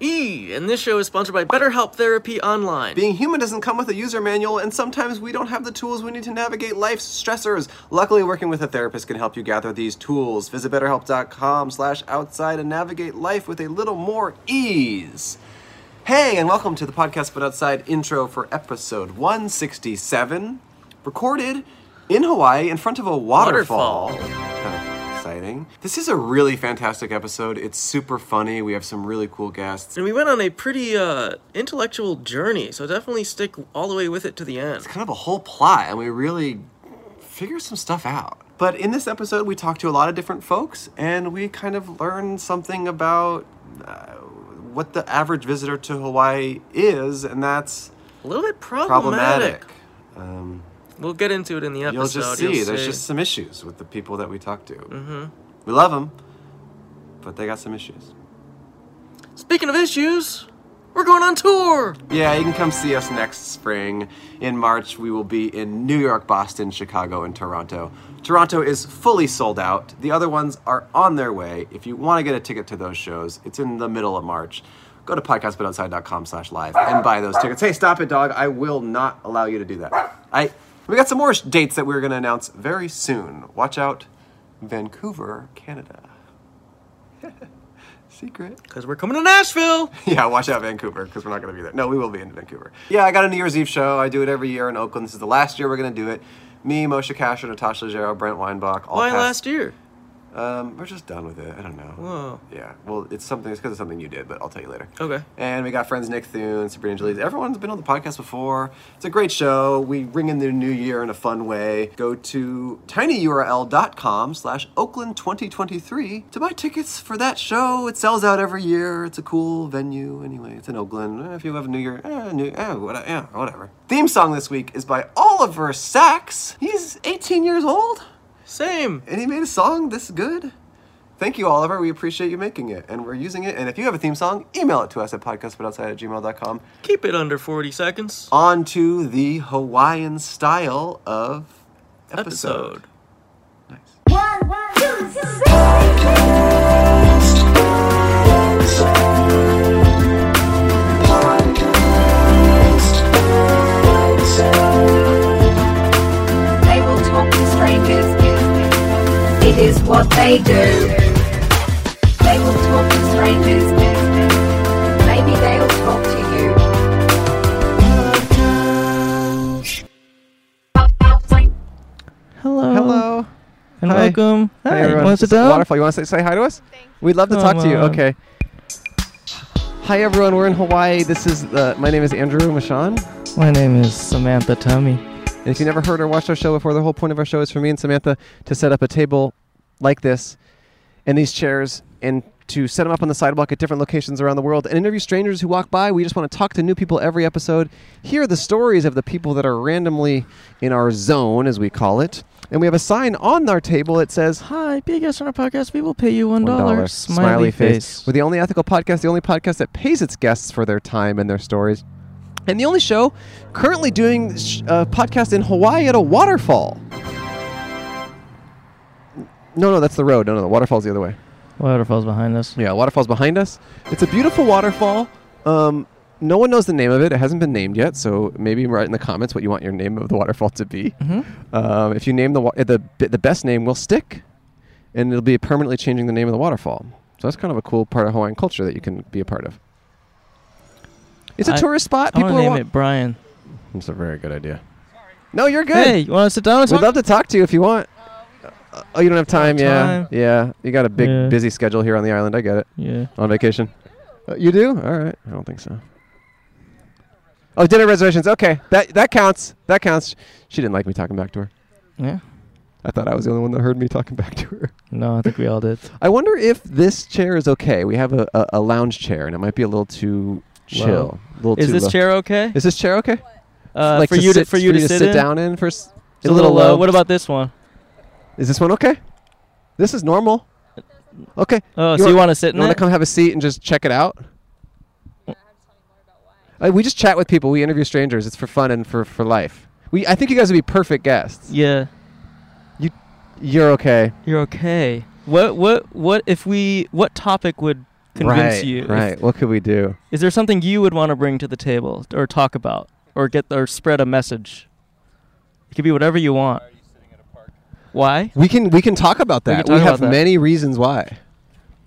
E, and this show is sponsored by BetterHelp Therapy Online. Being human doesn't come with a user manual, and sometimes we don't have the tools we need to navigate life's stressors. Luckily, working with a therapist can help you gather these tools. Visit betterhelp.com slash outside and navigate life with a little more ease. Hey, and welcome to the Podcast But Outside intro for episode 167, recorded in Hawaii in front of a waterfall. Kind of exciting. This is a really fantastic episode. It's super funny. We have some really cool guests. And we went on a pretty uh, intellectual journey, so definitely stick all the way with it to the end. kind of a whole plot, and we really figure some stuff out. But in this episode, we talk to a lot of different folks, and we kind of learn something about uh, what the average visitor to Hawaii is, and that's A little bit problematic. problematic. Um, We'll get into it in the episode. you'll just see, there's just some issues with the people that we talk to. Mm-hmm. We love them, but they got some issues. Speaking of issues, we're going on tour. Yeah, you can come see us next spring. In March, we will be in New York, Boston, Chicago, and Toronto. Toronto is fully sold out. The other ones are on their way. If you want to get a ticket to those shows, it's in the middle of March. Go to podcastbutoutside.com slash live and buy those tickets. Hey, stop it, dog. I will not allow you to do that. I We got some more sh- dates that we're going to announce very soon. Watch out, Vancouver, Canada. Secret Because we're coming to Nashville. yeah, watch out Vancouver because we're not going to be there. No, we will be in Vancouver. Yeah, I got a New Year's Eve show. I do it every year in Oakland. This is the last year we're going to do it. Me, Moshe Kasher, Natasha Leggero, Brent Weinbach. All Why past- last year? Um, we're just done with it. I don't know. Whoa. Yeah. Well, it's something. It's because of something you did, but I'll tell you later. Okay. And we got friends Nick Thune, Sabrina Jalise. Everyone's been on the podcast before. It's a great show. We ring in the new year in a fun way. Go to tinyurl.com slash Oakland 2023 to buy tickets for that show. It sells out every year. It's a cool venue. Anyway, it's in Oakland. Eh, If you have a new year, eh, new, eh, what, yeah, whatever. Theme song this week is by Oliver Sacks. He's 18 years old Same. and he made a song this good. Thank you, Oliver. We appreciate you making it, and we're using it. And if you have a theme song, email it to us at podcastbutoutside at gmail.com. Keep it under 40 seconds. On to the Hawaiian style of episode. Episode. Nice. One, two, three. They will talk to strangers. It is what they do. They will talk to strangers. Maybe they'll talk to you. Hello. Hello. And Hi. welcome. Hey, Hi. everyone. Want to sit This is down? Waterfall, you want to say, say hi to us? We'd love to Come talk to you. on. Okay. Hi, everyone. We're in Hawaii. This is uh, my name is Andrew Mashan. My name is Samantha Tummy. And if you never heard or watched our show before, the whole point of our show is for me and Samantha to set up a table like this and these chairs and to set them up on the sidewalk at different locations around the world and interview strangers who walk by. We just want to talk to new people every episode, hear the stories of the people that are randomly in our zone, as we call it. And we have a sign on our table that says, Hi, be a guest on our podcast. We will pay you one dollar. Smiley, face. We're the only ethical podcast, the only podcast that pays its guests for their time and their stories, and the only show currently doing sh- a podcast in Hawaii at a waterfall. No, no, that's the road. No, no, the waterfall's the other way. Waterfalls behind us. Yeah, waterfall's behind us. It's a beautiful waterfall. Um, no one knows the name of it. It hasn't been named yet, so maybe write in the comments what you want your name of the waterfall to be. Mm-hmm. Um, if you name the wa- uh, the b- the best name, will stick, and it'll be permanently changing the name of the waterfall. So that's kind of a cool part of Hawaiian culture that you can be a part of. It's a I- tourist spot. I want to are name wa- it Brian. That's a very good idea. No, you're good. Hey, you want to sit down and We'd talk? love to talk to you if you want. Uh, oh, you don't have time. have yeah, time. yeah. You got a big, Yeah. busy schedule here on the island. I get it yeah. on vacation. Uh, you do? All right. I don't think so. Oh, dinner reservations. Okay, that that counts. That counts. She didn't like me talking back to her. Yeah. I thought I was the only one that heard me talking back to her. No, I think we all did. I wonder if this chair is okay. We have a, a, a lounge chair, and it might be a little too chill. Low. A little Is too this low. chair okay? Is this chair okay? Uh, Like for you to sit- for you to sit, in? down in for. s- It's a little low. What about this one? Is this one okay? This is normal. Okay. Oh, You so you want- want to sit You in want to it? come have a seat and just check it out? Mm. Uh, we just chat with people. We interview strangers. It's for fun and for, for life. We, I think you guys would be perfect guests. yeah. You're okay. You're okay. What what what if we what topic would convince right, you. if- Right. What could we do? Is there something you would want to bring to the table or talk about or get or spread a message? It could be whatever you want. Why? We can we can talk about We that. can We, talk have about that. many reasons why.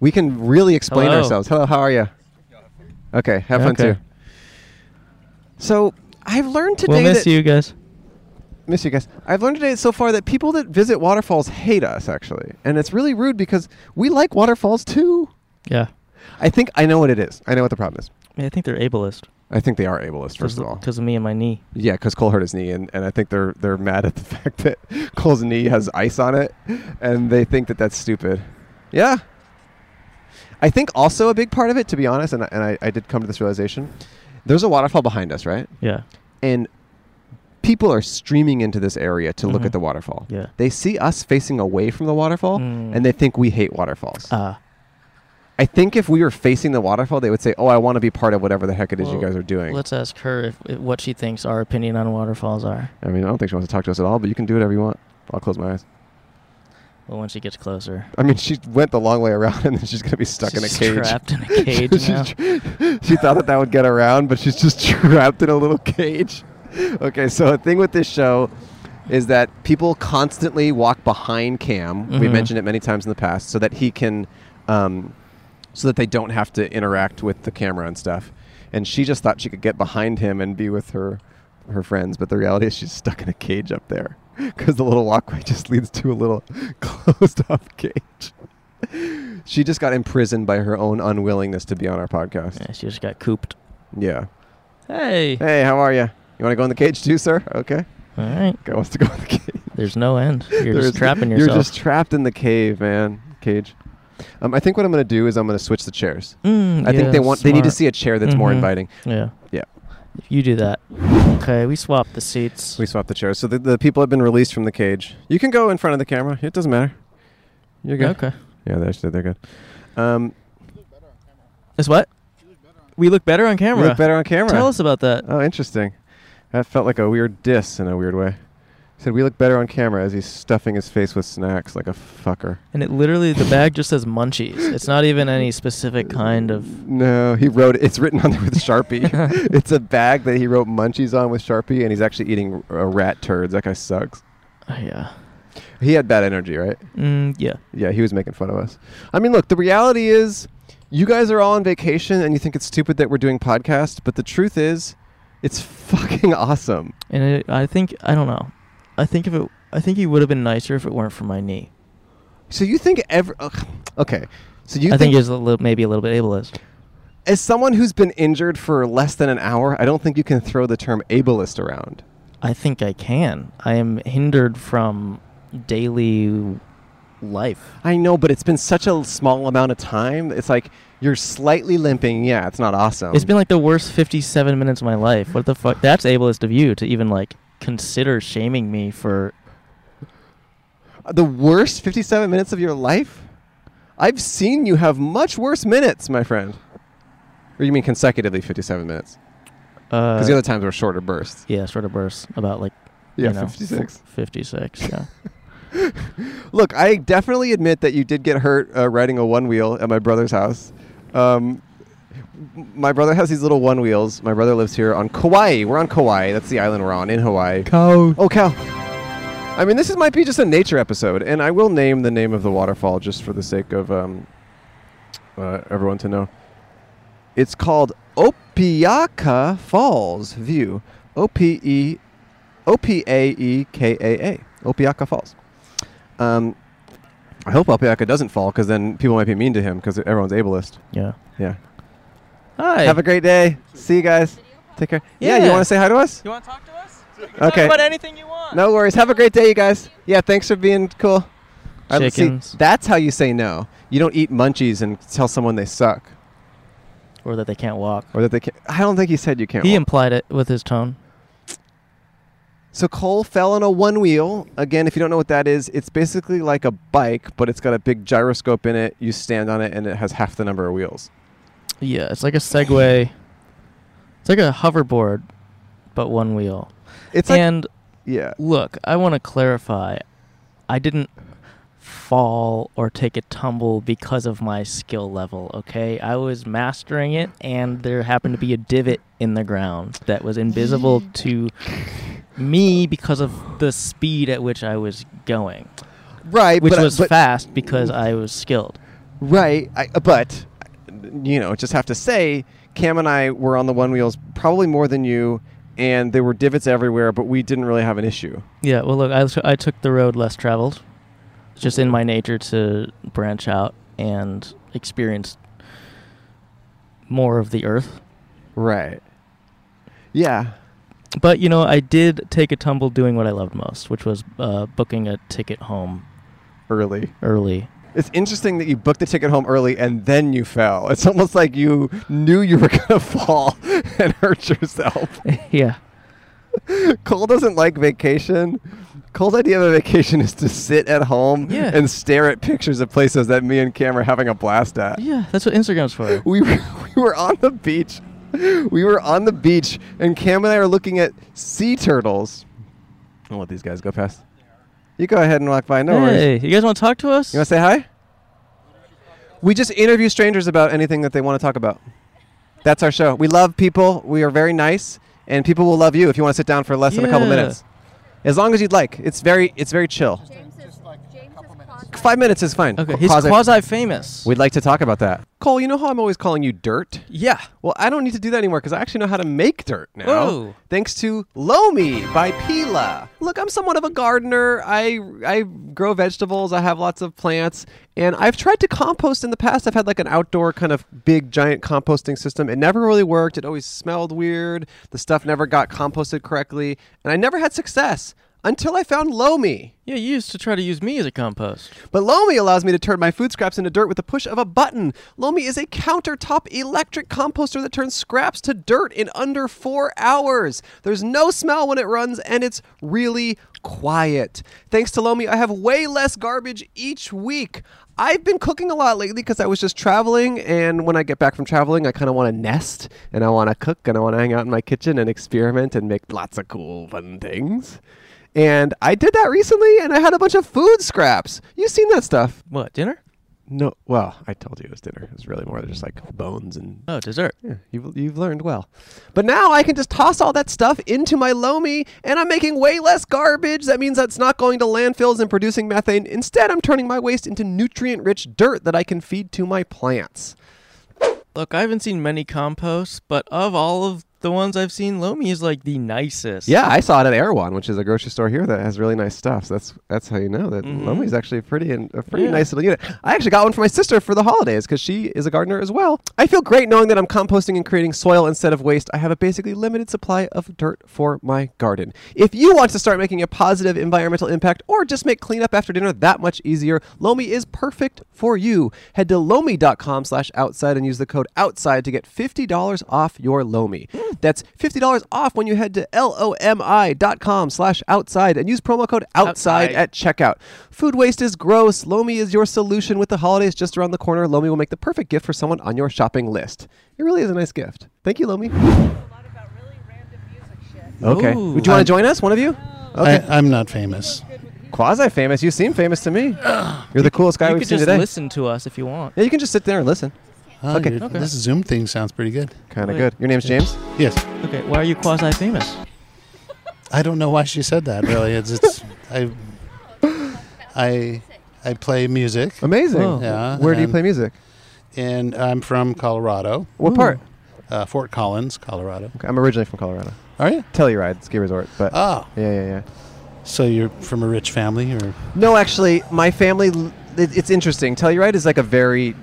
We can really explain Hello. ourselves. Hello, how are you? Okay, have fun Okay. too. So I've learned today We'll miss that you guys. miss you guys. I've learned today so far that people that visit waterfalls hate us actually, and it's really rude because we like waterfalls too. Yeah. I think I know what it is. I know what the problem is. I, mean, I think they're ableist. I think they are ableist first of all. Because of me and my knee. Yeah, because Cole hurt his knee, and, and I think they're they're mad at the fact that Cole's knee has ice on it, and they think that that's stupid. Yeah. I think also a big part of it, to be honest, and, I- and I, I did come to this realization, there's a waterfall behind us, right? Yeah. And people are streaming into this area to look Mhm. at the waterfall. Yeah. They see us facing away from the waterfall, Mm. and they think we hate waterfalls. Uh, I think if we were facing the waterfall, they would say, oh, I want to be part of whatever the heck it is you Well, guys are doing. Let's ask her if, if- what she thinks our opinion on waterfalls are. I mean, I don't think she wants to talk to us at all, but you can do whatever you want. I'll close my eyes. Well, when she gets closer, I mean, she went the long way around, and then she's gonna be stuck in a She's cage. trapped in a cage She's now. tr- she thought that that would get around, but she's just trapped in a little cage. Okay, so a thing with this show is that people constantly walk behind Cam. We Mhm. mentioned it many times in the past, so that he can, um, so that they don't have to interact with the camera and stuff. And she just thought she could get behind him and be with her her friends, but the reality is she's stuck in a cage up there because the little walkway just leads to a little closed off cage. She just got imprisoned by her own unwillingness to be on our podcast. yeah, she just got cooped. Yeah. Hey. Hey, how are you? You want to go in the cage too, sir? Okay. All right. Guy wants to go in the cage. There's no end. You're just There's- trapping yourself. You're just trapped in the cave, man. Cage. Um, I think what I'm going to do is I'm going to switch the chairs. Mm, I think yeah, they want they need to smart. see a chair that's more Mhm. inviting. Yeah. Yeah. You do that. Okay, we swap the seats. We swapped the chairs, so the, the people have been released from the cage. You can go in front of the camera. It doesn't matter. You're good. Okay. Yeah, they're actually they're good. Um, It's what? We look better on you camera. look better on camera. Tell us about that. Oh, interesting. That felt like a weird diss in a weird way. He said, "We look better on camera," as he's stuffing his face with snacks like a fucker. And it literally, the bag just says munchies. It's not even any specific kind of. No, he wrote. It's written on there with Sharpie. it's a bag that he wrote munchies on with Sharpie, and he's actually eating uh, rat turds. That guy sucks. uh, Yeah. He had bad energy, right? Mm, yeah. Yeah, he was making fun of us. I mean, look, the reality is, you guys are all on vacation, and you think it's stupid that we're doing podcast, but the truth is, it's fucking awesome. And it, I think I don't know. I think if it, I think he would have been nicer if it weren't for my knee. So you think every ugh, okay? So you I think, think he was a little, maybe a little bit ableist. As someone who's been injured for less than an hour, I don't think you can throw the term ableist around. I think I can. I am hindered from daily life. I know, but it's been such a small amount of time. It's like you're slightly limping. Yeah, it's not awesome. It's been like the worst 57 minutes of my life. What the fuck? That's ableist of you to even like consider shaming me for. the worst 57 minutes of your life. I've seen you have much worse minutes, my friend. Or you mean consecutively 57 minutes? Uh, Because the other times were shorter bursts. yeah, sort of bursts about like. Yeah, you know, 56. f- 56, yeah. Look, I definitely admit that you did get hurt uh, riding a one wheel at my brother's house. Um, m- my brother has these little one wheels. My brother lives here on Kauai. We're on Kauai. That's the island we're on in Hawaii. Cow. Oh, cow. I mean, this is, might be just a nature episode, and I will name the name of the waterfall just for the sake of um, uh, everyone to know. It's called Opiaka Falls View. O P E O P A E K A A. Opiaka Falls. Um, I hope Opiaka doesn't fall because then people might be mean to him because everyone's ableist. Yeah. Yeah. Hi. Have a great day. See you guys. Take care. Yeah, you Yeah. want to say hi to us? you want to talk to us? Okay. anything you want. No worries. Have a great day, you guys. Yeah, thanks for being cool. I don't- see, Chickens. that's how you say no. You don't eat munchies and tell someone they suck Or that they can't walk. or that they can't. I don't think he said you can't. He walk. implied it with his tone. so Cole fell on a one wheel. Again, if you don't know what that is, it's basically like a bike, but it's got a big gyroscope in it. You stand on it, and it has half the number of wheels. Yeah, it's like a Segway. It's like a hoverboard, but one wheel. It's like and yeah. look, I want to clarify. I didn't fall or take a tumble because of my skill level, okay? I was mastering it and there happened to be a divot in the ground that was invisible to me because of the speed at which I was going, right? which but I- was but- fast because I was skilled. Right, I, uh, but you know, just have to say, Cam and I were on the one wheels probably more than you, and there were divots everywhere, but we didn't really have an issue. Yeah, well, look, I, was- I took the road less traveled. It's just in my nature to branch out and experience more of the earth. Right. Yeah. But, you know, I did take a tumble doing what I loved most, which was uh, booking a ticket home Early. early. It's interesting that you booked the ticket home early and then you fell. It's almost like you knew you were gonna fall and hurt yourself. yeah. Cole doesn't like vacation. Cole's idea of a vacation is to sit at home Yeah. and stare at pictures of places that me and Cam are having a blast at. Yeah, that's what Instagram's for. we were, we were on the beach. We were on the beach, and Cam and I are looking at sea turtles. I'll let these guys go past. You go ahead and walk by. No worries. hey, you guys want to talk to us? You want to say hi? We just interview strangers about anything that they want to talk about. That's our show. We love people. We are very nice, and people will love you if you want to sit down for less than a couple Yeah. minutes, as long as you'd like. It's very, it's very chill. James is, James is quasi- Five minutes is fine. okay, Qu- he's quasi- quasi famous. We'd like to talk about that. Cole, you know how I'm always calling you dirt? yeah. Well, I don't need to do that anymore because I actually know how to make dirt now. Whoa. Thanks to Lomi by Pila. Look, I'm somewhat of a gardener. I I grow vegetables. I have lots of plants, and I've tried to compost in the past. I've had like an outdoor kind of big giant composting system. It never really worked. It always smelled weird. The stuff never got composted correctly, and I never had success until I found Lomi. Yeah, you used to try to use me as a compost. But Lomi allows me to turn my food scraps into dirt with the push of a button. Lomi is a countertop electric composter that turns scraps to dirt in under four hours. There's no smell when it runs, and it's really quiet. Thanks to Lomi, I have way less garbage each week. I've been cooking a lot lately because I was just traveling, and when I get back from traveling, I kind of want to nest and I want to cook and I want to hang out in my kitchen and experiment and make lots of cool, fun things. And I did that recently, and I had a bunch of food scraps. You've seen that stuff. What, dinner? No, well, I told you it was dinner. It was really more just like bones and Oh, dessert. yeah, you've, you've learned well. But now I can just toss all that stuff into my Lomi, and I'm making way less garbage. That means that's not going to landfills and producing methane. Instead, I'm turning my waste into nutrient rich dirt that I can feed to my plants. Look, I haven't seen many composts, but of all of the ones I've seen, Lomi is like the nicest. Yeah, I saw it at Erewhon, which is a grocery store here that has really nice stuff. So that's that's how you know that Lomi is actually pretty and a pretty Yeah. nice little unit. I actually got one for my sister for the holidays because she is a gardener as well. I feel great knowing that I'm composting and creating soil instead of waste. I have a basically limited supply of dirt for my garden. If you want to start making a positive environmental impact or just make cleanup after dinner that much easier, Lomi is perfect for you. Head to lomi.com slash outside and use the code outside to get $50 off your Lomi. Hmm. That's $50 off when you head to lomi.com slash outside and use promo code outside, at checkout. Food waste is gross. Lomi is your solution with the holidays just around the corner. Lomi will make the perfect gift for someone on your shopping list. It really is a nice gift. Thank you, Lomi. a lot about really random music shit. Okay. Ooh. Would you want to join us, one of you? I, I'm not famous. Quasi famous. You seem famous to me. You're the coolest guy You we've could seen just today. listen to us if you want. Yeah, you can just sit there and listen. Oh, Okay. you're- This Zoom thing sounds pretty good. Kind of Wait. good. Your name's James. Yes. Okay, why are you quasi famous? I don't know why she said that. Really, it's, it's I, I, I play music, Amazing. Whoa. Yeah, Where do you and- play music? and I'm from Colorado, What part? uh, Fort Collins, Colorado. Okay, I'm originally from Colorado. Are you? Telluride ski resort, but Oh, yeah, yeah, yeah. so you're from a rich family, or No, actually, my family. l- It, it's interesting. Telluride is like a very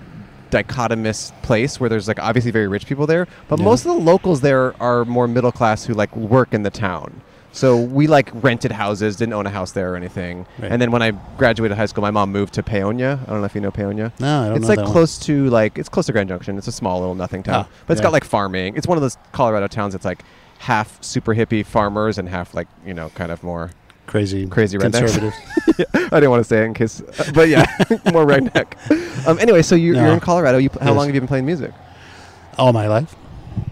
dichotomous place where there's like obviously very rich people there, but Yeah. most of the locals there are more middle class who like work in the town. So we like rented houses, didn't own a house there or anything. Right. And then when I graduated high school, my mom moved to Peonia. I don't know if you know Peonia. no? I don't it's know like that one. close to like it's close to Grand Junction. It's a small little nothing town, Ah, but it's yeah. got like farming. It's one of those Colorado towns that's like half super hippie farmers and half like you know kind of more. Crazy, Crazy rednecks. conservative. I didn't want to say it in case, uh, but yeah, more redneck. Um, anyway, so you're, No. you're in Colorado. You, pl- how Yes. long have you been playing music? All my life.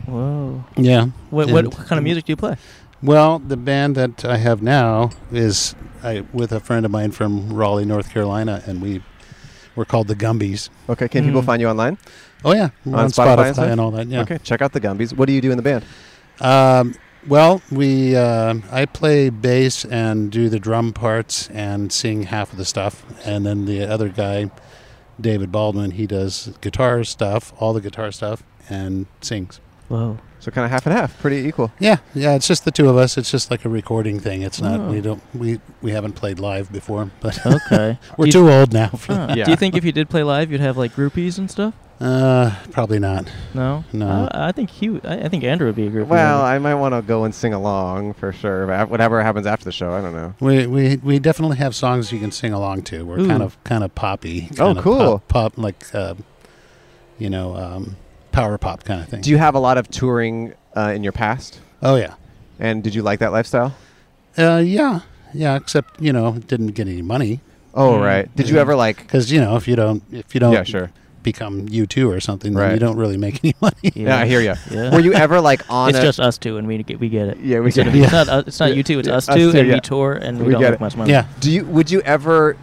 Whoa. Yeah. What, And- what, what kind of music do you play? Well, the band that I have now is I, with a friend of mine from Raleigh, North Carolina, and we were called the Gumbies. Okay, can people Mm. find you online? Oh yeah, we're On Spotify on and Spotify, stuff? and all that. Yeah. Okay, check out the Gumbies. What do you do in the band? Um, well, we uh, I play bass and do the drum parts and sing half of the stuff, and then the other guy, David Baldwin, he does guitar stuff, all the guitar stuff, and sings. Whoa. So kind of half and half, pretty equal. Yeah, yeah. It's just the two of us. It's just like a recording thing. It's Oh. not. We don't. We we haven't played live before, but Okay. we're Do you- too old now. For Huh. Yeah. Do you think if you did play live, you'd have like groupies and stuff? Uh, probably not. No. No. I, I think he. would- I, I think Andrew would be a groupie. Well, I might want to go and sing along for sure. but Whatever happens after the show, I don't know. We, we we definitely have songs you can sing along to. We're Ooh. kind of kind of poppy. Oh, kind of cool. Pop, pop like uh, you know, um, power pop kind of thing. Do you have a lot of touring uh, in your past? oh yeah, And did you like that lifestyle? uh, yeah, yeah. Except you know, didn't get any money Oh, Mm. right. Did you Yeah. ever like? because you know if you don't if you don't Yeah, sure. become you two or something, then Right. you don't really make any money. Yeah, I hear you. Yeah. Were you ever like on it's a? just us two, and we get we get it. yeah, we It's, get gonna be- it. it's not. us- It's not you two. It's Yeah, us us two, two, and yeah. we tour, and we, We don't get it. make much money. Yeah. Do you? Would you ever?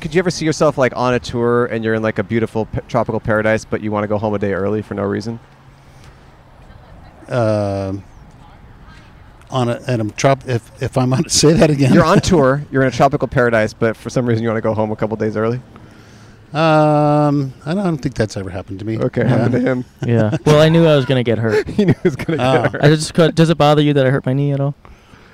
Could you ever see yourself like on a tour and you're in like a beautiful p- tropical paradise, but you want to go home a day early for no reason? Um on a and I'm trop- if if I'm on say that again. You're on tour. You're in a tropical paradise, but for some reason you want to go home a couple days early. Um, I don't, I don't think that's ever happened to me. Okay, Yeah. happened to him. Yeah. Well, I knew I was gonna get hurt. he knew it was gonna Oh. get hurt. I just cut- does it bother you that I hurt my knee at all?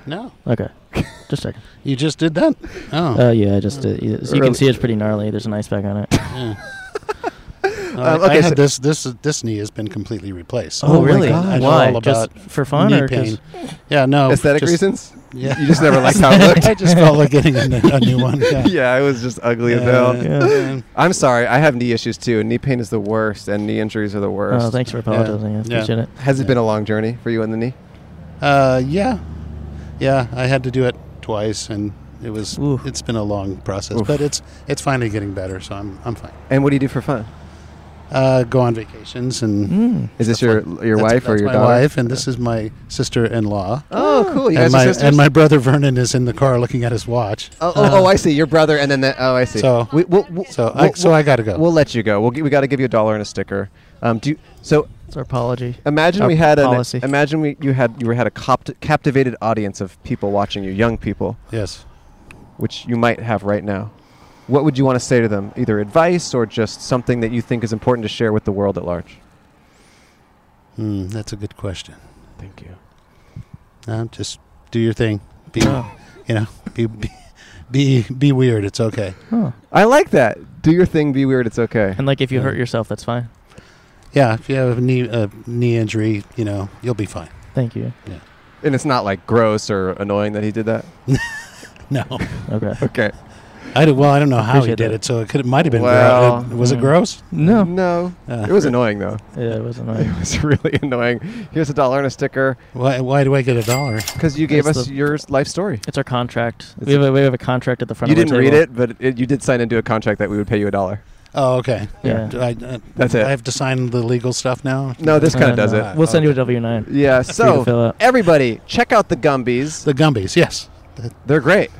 No, Okay. Just checking. you just did that. Oh. Oh yeah, I just did. yeah, so you Really- can see it's pretty gnarly. There's an ice pack on it. Yeah. Uh, I- I okay, had so- this this this knee has been completely replaced. Oh, I really? know- I know Why? all Just about for fun knee or 'cause- pain. Yeah, no Aesthetic just- reasons? Yeah, You just never liked how it looked. I just felt like getting a, n- a new one. Yeah, yeah, it was just ugly as Yeah, hell. yeah, yeah. I'm sorry, I have knee issues too, and knee pain is the worst, and knee injuries are the worst. Oh, thanks for apologizing. I Yeah. appreciate it. Has it been a long journey for you on the knee? Uh, yeah, yeah. I had to do it twice, and it was Ooh. it's been a long process, Oof. but it's it's finally getting better. So I'm I'm fine. And what do you do for fun? Uh, go on vacations and Mm. Is this your your that's- wife or that's your my daughter? wife, and this is my sister-in-law. Oh, cool. You and guys my are sisters. and my brother Vernon is in the car looking at his watch. oh, oh, oh, I see. Your brother, and then the, oh, I see. So- we, we'll, we'll, So we'll, I so I gotta go. we'll let you go. We'll, gi- we got to give you a dollar and a sticker. Um, do you, so. It's our apology. Imagine Our we had an, policy. imagine we, you had you had a copt- captivated audience of people watching you, young people. yes. which you might have right now, what would you want to say to them? Either advice or just something that you think is important to share with the world at large? Hmm, that's a good question. Thank you. Uh, just do your thing. Be you know be, be be be weird. It's okay. Huh. I like that. Do your thing, be weird, it's okay. And like, if you hurt yourself, that's fine. Yeah, if you have a knee a knee injury, you know you'll be fine. Thank you. And it's not like gross or annoying that he did that. No, Okay. Okay. I do, well I don't know how he Appreciate did that. it, so it could it might have been Well, gross. Was it mm. gross? No. No. Uh, It was annoying though. Yeah, it wasn't. It Right. was really annoying. Here's a dollar and a sticker Why why do I get a dollar? because you gave That's us the- your life story. It's our contract. It's we, have a, we have a contract at the front. You of didn't our read table. it, but it, you did sign into a contract that we would pay you a dollar. Oh okay. Yeah. Do I, uh, That's it. I have to sign the legal stuff now. No, this kind of Uh, does no. it. We'll send you a W nine. Yeah. So to So fill out. everybody, check out the Gumbies. The Gumbies, yes. That- They're great.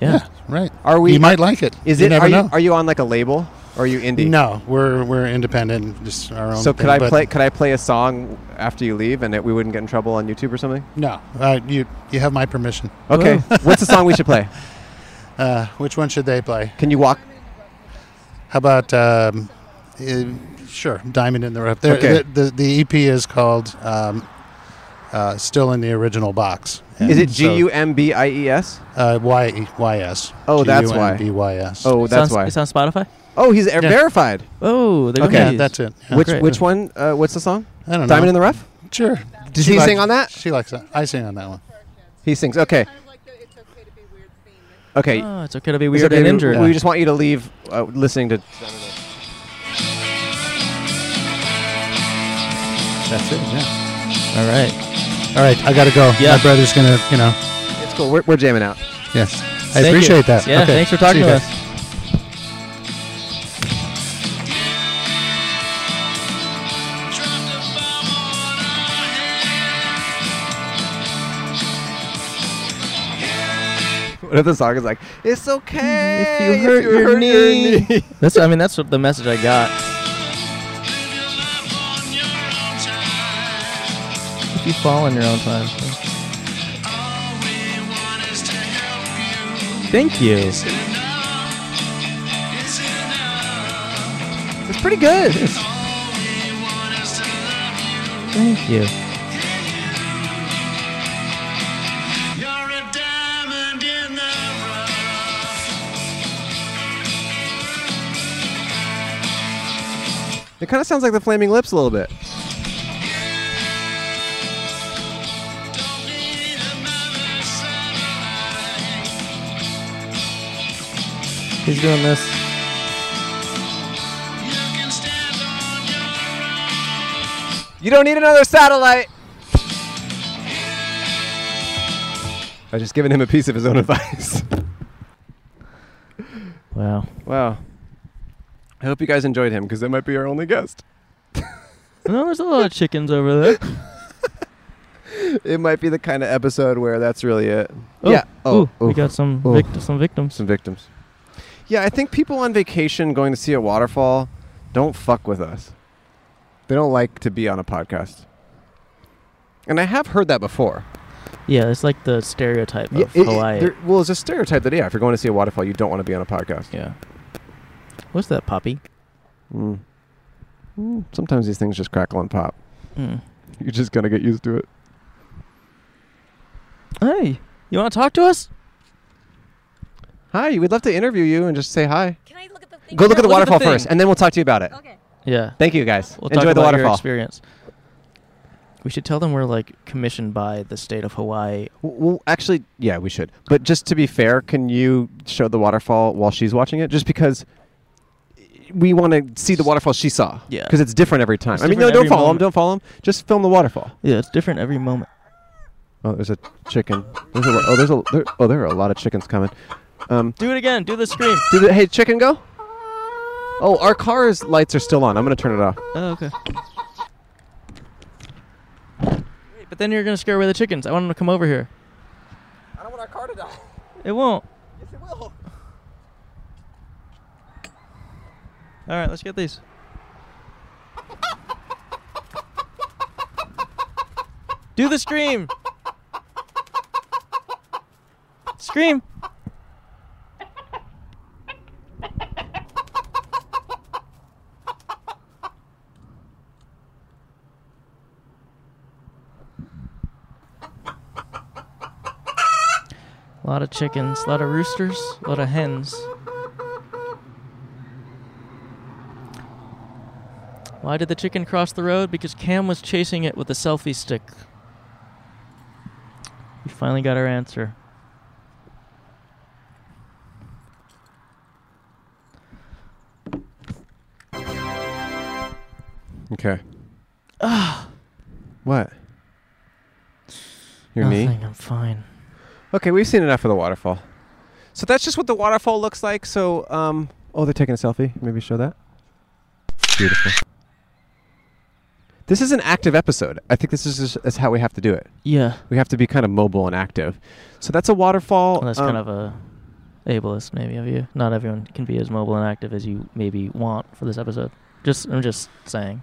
Yeah. right. Are we? you might like it. Is you it? Never are know. you are you on like a label or are you indie? No, we're we're independent, just our own. So could thing, I but play? Could I play a song after you leave, and it, we wouldn't get in trouble on YouTube or something? No, uh, you you have my permission. Okay. What's the song we should play? Uh, which one should they play? Can you walk? How about um, uh, sure, Diamond in the Rough. There, Okay. the, the the EP is called um, uh, Still in the Original Box. Is it G G U M B I E S? Uh, y E- Y S. Oh, that's why. B Y S. Oh, It's that's on, why. It's on Spotify. Oh, he's er- Yeah. verified. Oh, the Okay. yeah, Gumbies. that's it. Yeah. which great. which one? Uh, what's the song? I don't know. Diamond in the Rough. Sure. Does She he likes- sing on that? She likes that. I sing on that one. He sings. Okay. Kind of like the it's okay to be weird theme. Okay. Oh, it's okay to be It's weird okay, and we- injured. We just want you to leave uh, listening to. That's it. Yeah. All right. All right, I gotta go. Yeah. My brother's gonna, you know. It's cool. We're, we're jamming out. Yes. I Thank you. appreciate that. Yeah. Okay, Thanks for see talking you to guys. us. What if the song is like, "It's okay If you hurt your knee." knee." That's I mean that's what the message I got. If you fall in your own time. Thank you. It's pretty good. Thank you. It kind of sounds like the Flaming Lips a little bit. He's doing this. You don't need another satellite. I just given him a piece of his own advice. Wow. wow. I hope you guys enjoyed him because that might be our only guest. No, there's a lot of chickens over there. It might be the kind of episode where that's really it. Oh, yeah. Oh, Oh, we got some oh. vict- some victims. some victims. Yeah, I think people on vacation going to see a waterfall don't fuck with us. They don't like to be on a podcast. And I have heard that before. Yeah, it's like the stereotype of Yeah, it- it- Hawaii. there- well, it's a stereotype that yeah, if you're going to see a waterfall, you don't want to be on a podcast. yeah. What's that, Poppy? Mm. Mm, sometimes these things just crackle and pop. Mm. You're just gonna get used to it. Hey, you want to talk to us? Hi, we'd love to interview you and just say hi. Can I look at the thing? Go look at the look at the waterfall thing. first, and then we'll talk to you about it. Okay. Yeah. Thank you, guys. We'll Enjoy talk the about your waterfall. experience. We should tell them we're like commissioned by the state of Hawaii. W- Well, actually, yeah, we should. But just to be fair, can you show the waterfall while she's watching it? Just because we want to see the waterfall she saw. Yeah. Because it's different every time. It's I mean, no, different don't every follow him. moment. Don't follow him. Just film the waterfall. Yeah, it's different every moment. Oh, there's a chicken. There's a, lo- oh, there's a. There, oh, there are a lot of chickens coming. Um, Do it again. Do the scream. did the, hey chicken go? Oh, our car's lights are still on. I'm gonna turn it off. Oh, okay. Wait, but then you're gonna scare away the chickens. I want them to come over here. I don't want our car to die. It won't. Yes, it will. All right, let's get these. Do the scream. Scream. A lot of chickens, a lot of roosters, a lot of hens. Why did the chicken cross the road? Because Cam was chasing it with a selfie stick. We finally got our answer. Okay. what? Your knee. Nothing, I'm fine. Okay, we've seen enough of the waterfall. So that's just what the waterfall looks like. So, um, oh, they're taking a selfie. Maybe show that. Beautiful. This is an active episode. I think this is just, is how we have to do it. Yeah. We have to be kind of mobile and active. So that's a waterfall. Well, that's um, kind of a ableist maybe of you. Not everyone can be as mobile and active as you maybe want for this episode. Just I'm just saying.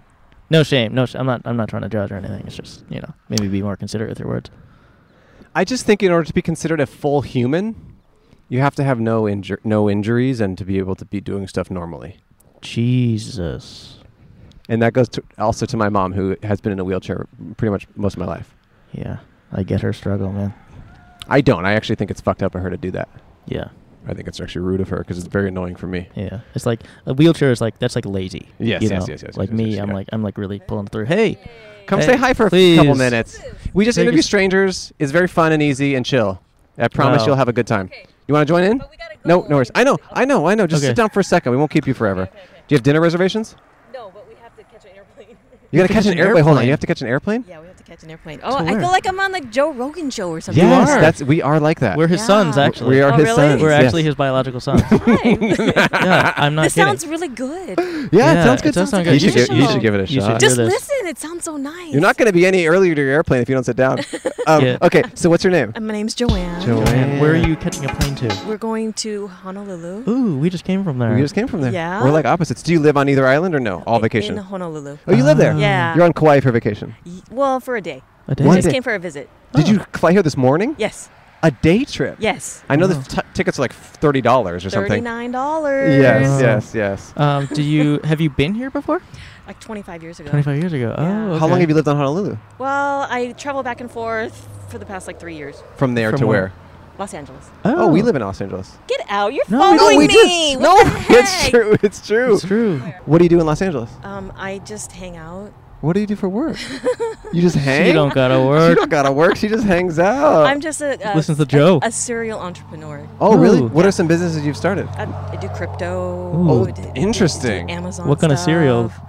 No shame. No sh- I'm not I'm not trying to judge or anything. It's just, you know, maybe be more considerate with your words. I just think in order to be considered a full human, you have to have no injur- no injuries and to be able to be doing stuff normally. Jesus. And that goes to also to my mom, who has been in a wheelchair pretty much most of my life. Yeah. I get her struggle, man. I don't. I actually think it's fucked up of her to do that. Yeah. I think it's actually rude of her because it's very annoying for me. Yeah, it's like a wheelchair is like that's like lazy. Yes, you yes, know? yes, yes, Like yes, me, yes, I'm yeah. like I'm like really pulling through. Hey, Come Hey, say hi for a f- couple please. minutes. We just Take interview us- strangers. It's very fun and easy and chill. I promise Wow. you'll have a good time. Okay. You want to join in? But we gotta go. No, no worries. I know, I know, I know. Just Okay. sit down for a second. We won't keep you forever. Okay, okay. Do you have dinner reservations? No, but we have to catch an airplane. You gotta catch an airplane. Hold on, you have to catch an airplane. yeah, we have to catch an airplane. Oh, To I where? feel like I'm on like Joe Rogan show or something. Yes, are. that's we are like that. we're his sons Yeah. actually. We are Oh, his really? sons. We're yes. actually his biological sons. yeah, I'm not this kidding. sounds really good. Yeah, it Yeah, sounds it good. does sound You good. should, You give, you should- should give it a you should shot. do Just this. listen. It sounds so nice. You're not going to be any earlier to your airplane if you don't sit down. Um, Yeah. Okay, so what's your name? Uh, My name's Joanne. Joanne, where are you catching a plane to? We're going to Honolulu. Ooh, we just came from there. We just came from there. Yeah. We're like opposites. Do you live on either island or no? All In- vacation. In Honolulu. oh, you live Uh, there. Yeah. You're on Kauai for vacation. Y- Well, for a day. A day. One Just day. came for a visit. Did you fly here this morning? Yes. A day trip. Yes. I know the t- tickets are like thirty dollars or something. Thirty-nine dollars. Yes, Oh. yes, yes. Um, do you have you been here before? Like twenty-five years ago. 25 years ago. Yeah. Oh, How long have you lived on Honolulu? Well, I travel back and forth for the past like three years. From there From to where? where? Los Angeles. Oh, we live in Los Angeles. Get out! You're No, we following we don't. me. did. What no, the it's heck? true. It's true. It's true. What do you do in Los Angeles? Um, I just hang out. What do you do for work? you just hang. You don't gotta She work. don't gotta work. She just hangs out. I'm just a, a Listens Uh, to a- Joe. A, serial entrepreneur. oh, really? Ooh. What are some businesses you've started? I, I do crypto. Ooh. Oh, I do- do- do interesting. Amazon. What kind of cereal? Oh, stuff,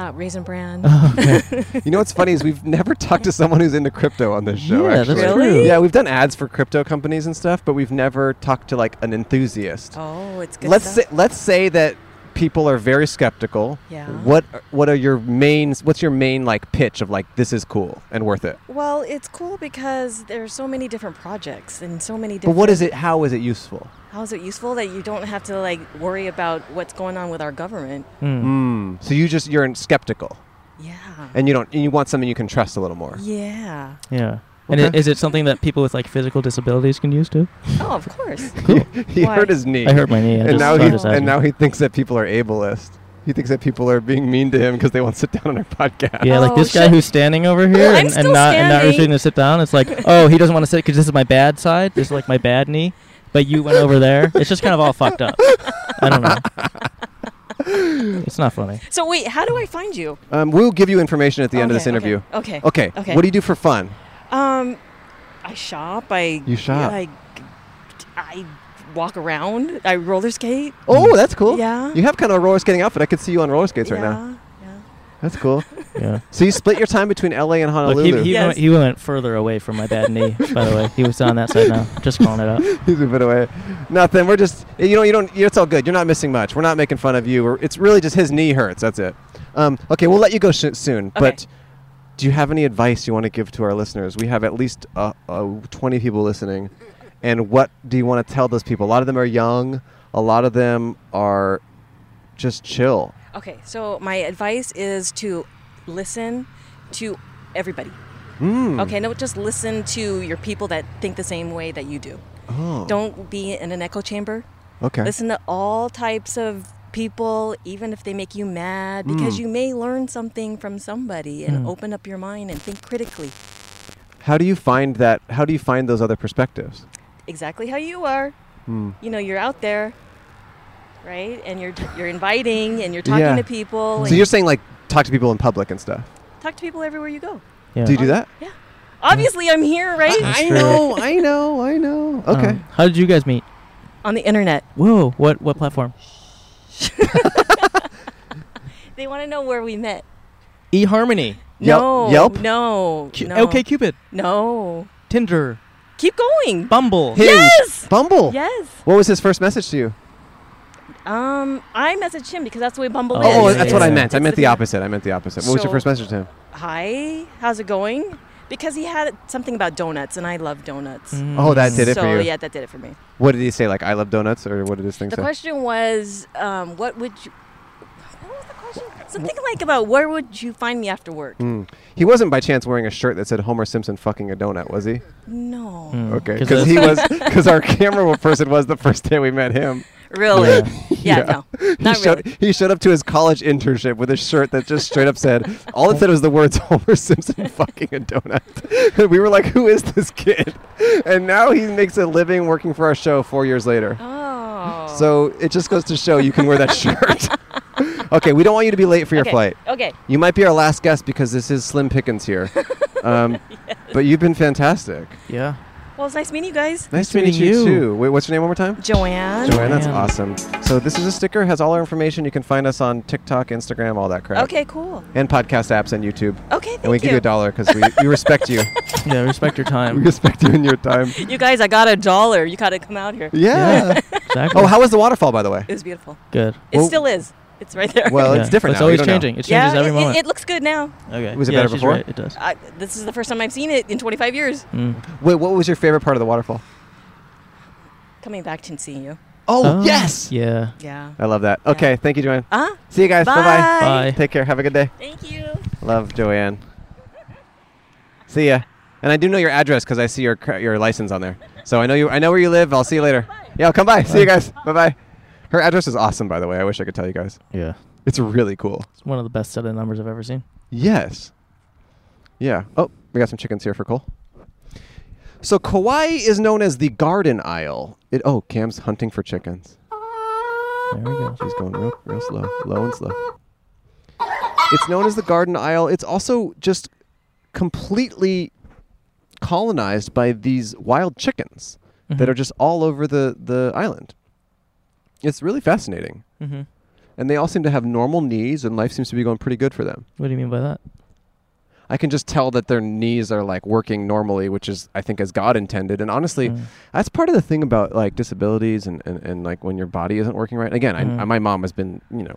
Uh, Raisin Bran. You know what's funny is we've never talked to someone who's into crypto on this show. yeah, actually. that's Really? true. Yeah, we've done ads for crypto companies and stuff, but we've never talked to like an enthusiast. oh, it's good. let's say, stuff. let's say that people are very skeptical. Yeah. What are- what are your main what's your main like pitch of like this is cool and worth it? Well, it's cool because there's so many different projects and so many But different. what is it how is it useful? How is it useful that you don't have to like worry about what's going on with our government? Hmm. Hmm. Mm. So you just you're in- skeptical Yeah. and you don't and you want something you can trust a little more. Yeah. Yeah. And i Okay. is it something that people with like physical disabilities can use too? Oh, of course. he Why? hurt his knee. I hurt my knee. I and just, now so he I just and asked. now he thinks that people are ableist. He thinks that people are being mean to him because they won't sit down on our podcast. Yeah, like Oh, this guy shit. who's standing over here I'm and, and still not and not standing. refusing to sit down. It's like, oh, he doesn't want to sit because this is my bad side. This is like my bad knee. But you went over there. It's just kind of all fucked up. I don't know. It's not funny. So wait, how do I find you? Um, we'll give you information at the end of Okay, this interview. Okay. Okay. Okay. What do you do for fun? Um, I shop. I You shop. I, I walk around. I roller skate. Oh, that's cool. Yeah. You have kind of a roller skating outfit. I could see you on roller skates yeah. right now. Yeah. That's cool. Yeah. so you split your time between LA and Look, Honolulu. he, he, Yes. went, he went further away from my bad knee. By the way, he was on that side now. Just calling it out. He's a bit away. Nothing. We're just you know you don't. It's all good. You're not missing much. We're not making fun of you. We're, it's really just his knee hurts. That's it. Um, okay, we'll let you go sh- soon. But do you have any advice you want to give to our listeners? We have at least uh, uh, 20 people listening, and what do you want to tell those people? A lot of them are young. A lot of them are just chill. Okay. So my advice is to listen to everybody. Mm. Okay. No, just listen to your people that think the same way that you do. Oh. Don't be in an echo chamber. Okay. Listen to all types of people, even if they make you mad, because Hmm. you may learn something from somebody and open up your mind and think critically. How do you find that? How do you find those other perspectives? Exactly how you are. Hmm. You know, you're out there, right? And you're you're inviting and you're talking Yeah. to people. So And you're saying like talk to people in public and stuff. talk to people everywhere you go. Yeah. Do you do that? Yeah. Obviously, I'm here, right? I true. know, I know, I know. Um, Okay. how did you guys meet? On the internet. Whoa. What what platform? They want to know where we met. eHarmony. Yelp- No. Yelp? No. Q- no. OK Cupid. No. Tinder. Keep going. Bumble. Hinge. Yes! Bumble. Yes. What was his first message to you? Um, I messaged him because that's the way Bumble Oh, is. Oh, yeah, that's yeah, what I yeah. meant. I It's meant the the- opposite. I meant the opposite. What was your So- first message to him? Hi, how's it going? Because he had something about donuts, and I love donuts. Mm. Oh, that did it so for you. yeah, that did it for me. What did he say? Like, I love donuts, or what did his thing The say? question was, um, what would you? What was the question? Something like about where would you find me after work? Hmm. He wasn't by chance wearing a shirt that said Homer Simpson fucking a donut, was he? No, Hmm. Okay, Mm. 'Cause because that's- he was because our camera person was the first day we met him. really? Yeah, no, He not showed, really. he showed up to his college internship with a shirt that just straight up said, all it said was the words Homer Simpson fucking a donut. And we were like, who is this kid? And now he makes a living working for our show four years later. Oh, So it just goes to show you can wear that shirt. okay, we don't want you to be late for your okay. Oh. flight. Okay, You might be our last guest because this is Slim Pickens here. Um, But you've been fantastic. Yeah. well, it's nice meeting you guys, Nice Nice to meet meeting you, you. too. Wait, what's your name one more time? Joanne. Joanne, that's Man. awesome. So this is a sticker, has all our information. You can find us on TikTok, Instagram, all that crap. Okay, cool. And podcast apps and YouTube. Okay, thank and we you. give you a dollar because we, we respect you. Yeah. Respect your We time. respect you in your time. You guys, I got a dollar. You gotta come out here. Yeah. Exactly. oh, how was the waterfall, by the way? It was beautiful. good? It Well- still is. It's right there. Well, it's Yeah. different. It's now. You always don't know. changing. It yeah, changes every it- It, moment. Uh, it looks good now. okay. Was it yeah, better she's before? right, It does. I, this is the first time I've seen it in 25 years. Mm. Wait, what was your favorite part of the waterfall? Coming back to seeing you. Oh, Um, Oh, yes. Yeah. Yeah. I love that. Okay, thank you, Joanne. Uh-huh. See you guys. Bye-bye. Bye. Take care. Have a good day. Thank you. Love Joanne. See ya. And I do know your address because I see your cr- your license on there. So I know you. I know where you live. I'll see you later. Yeah, I'll come by. See you guys. Bye bye. Her address is awesome, by the way. I wish I could tell you guys. Yeah. It's really cool. It's one of the best set of numbers I've ever seen. Yes. Yeah. Oh, we got some chickens here for Cole. So Kauai is known as the Garden Isle. It. Oh, Cam's hunting for chickens. There we go. She's going real, real slow, low and slow. It's known as the Garden Isle. It's also just completely colonized by these wild chickens that are just all over the, the island. It's really fascinating. Mm-hmm. And they all seem to have normal knees, and life seems to be going pretty good for them. What do you mean by that? I can just tell that their knees are like working normally, which is, I think, as God intended. And honestly, Mm. that's part of the thing about like disabilities and, and, and like when your body isn't working right. Again, I, Mm. my mom has been, you know,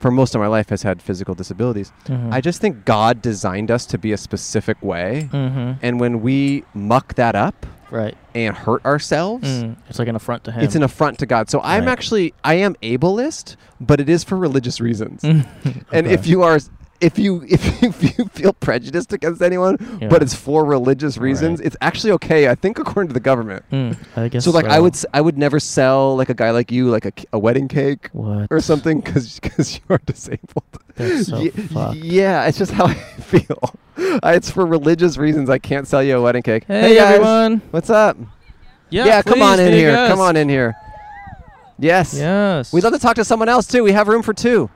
for most of my life has had physical disabilities. Mm-hmm. I just think God designed us to be a specific way. Mm-hmm. And when we muck that up Right. and hurt ourselves, Mm. It's like an affront to him. it's an affront to God. So I'm Right. actually I am ableist, but it is for religious reasons. Mm. And Okay. if you are if you if you, if you feel prejudiced against anyone, Yeah. but it's for religious reasons, it's actually okay. I think according to the government. Mm, I guess So like I would s- I would never sell like a guy like you like a, c- a wedding cake What? or something because you are disabled. That's so Ye- fucked. yeah, it's just how I feel. I, it's for religious reasons. I can't sell you a wedding cake. Hey, guys. everyone. what's up? Yeah. come on please, in take here. us. Come on in here. Yes. Yes. We'd love to talk to someone else too. We have room for two.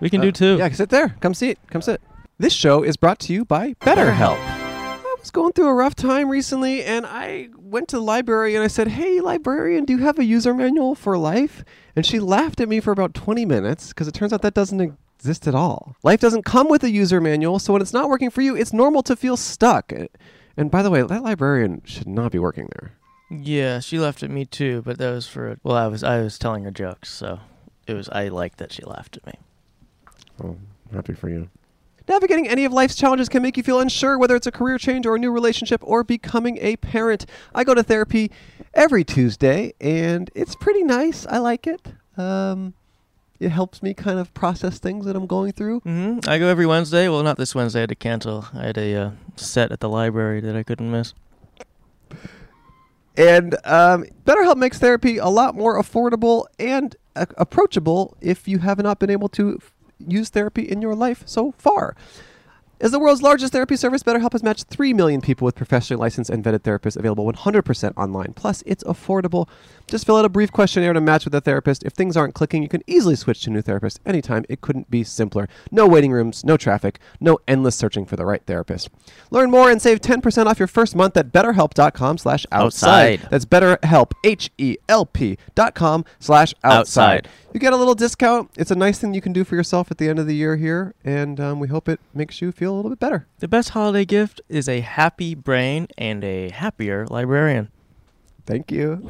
We can Uh, do two. Yeah, sit there. Come sit. Come sit. This show is brought to you by BetterHelp. I was going through a rough time recently and I went to the library and I said, Hey, librarian, do you have a user manual for life? And she laughed at me for about 20 minutes because it turns out that doesn't exist at all. Life doesn't come with a user manual, so when it's not working for you, it's normal to feel stuck. And- And by the way, that librarian should not be working there. Yeah, she laughed at me too, but that was for well, I was I was telling her jokes, so it was I liked that she laughed at me. Well, happy for you. Navigating any of life's challenges can make you feel unsure whether it's a career change or a new relationship or becoming a parent. I go to therapy every Tuesday, and it's pretty nice. I like it. Um, it helps me kind of process things that I'm going through. hmm Mm-hmm. I go every Wednesday. Well, not this Wednesday. I had to cancel. I had a uh, set at the library that I couldn't miss. And um, BetterHelp makes therapy a lot more affordable and uh, approachable if you have not been able to f- use therapy in your life so far. As the world's largest therapy service, BetterHelp has matched 3 million people with professionally licensed and vetted therapists available 100% online. Plus, it's affordable. Just fill out a brief questionnaire to match with a therapist. If things aren't clicking, you can easily switch to a new therapist anytime. It couldn't be simpler. No waiting rooms, no traffic, no endless searching for the right therapist. Learn more and save 10% off your first month at betterhelp.com slash outside. Outside. That's BetterHelp, H-E-L-P dot com slash outside. Outside. You get a little discount. It's a nice thing you can do for yourself at the end of the year here, and um, we hope it makes you feel a little bit better. The best holiday gift is a happy brain and a happier librarian. Thank you.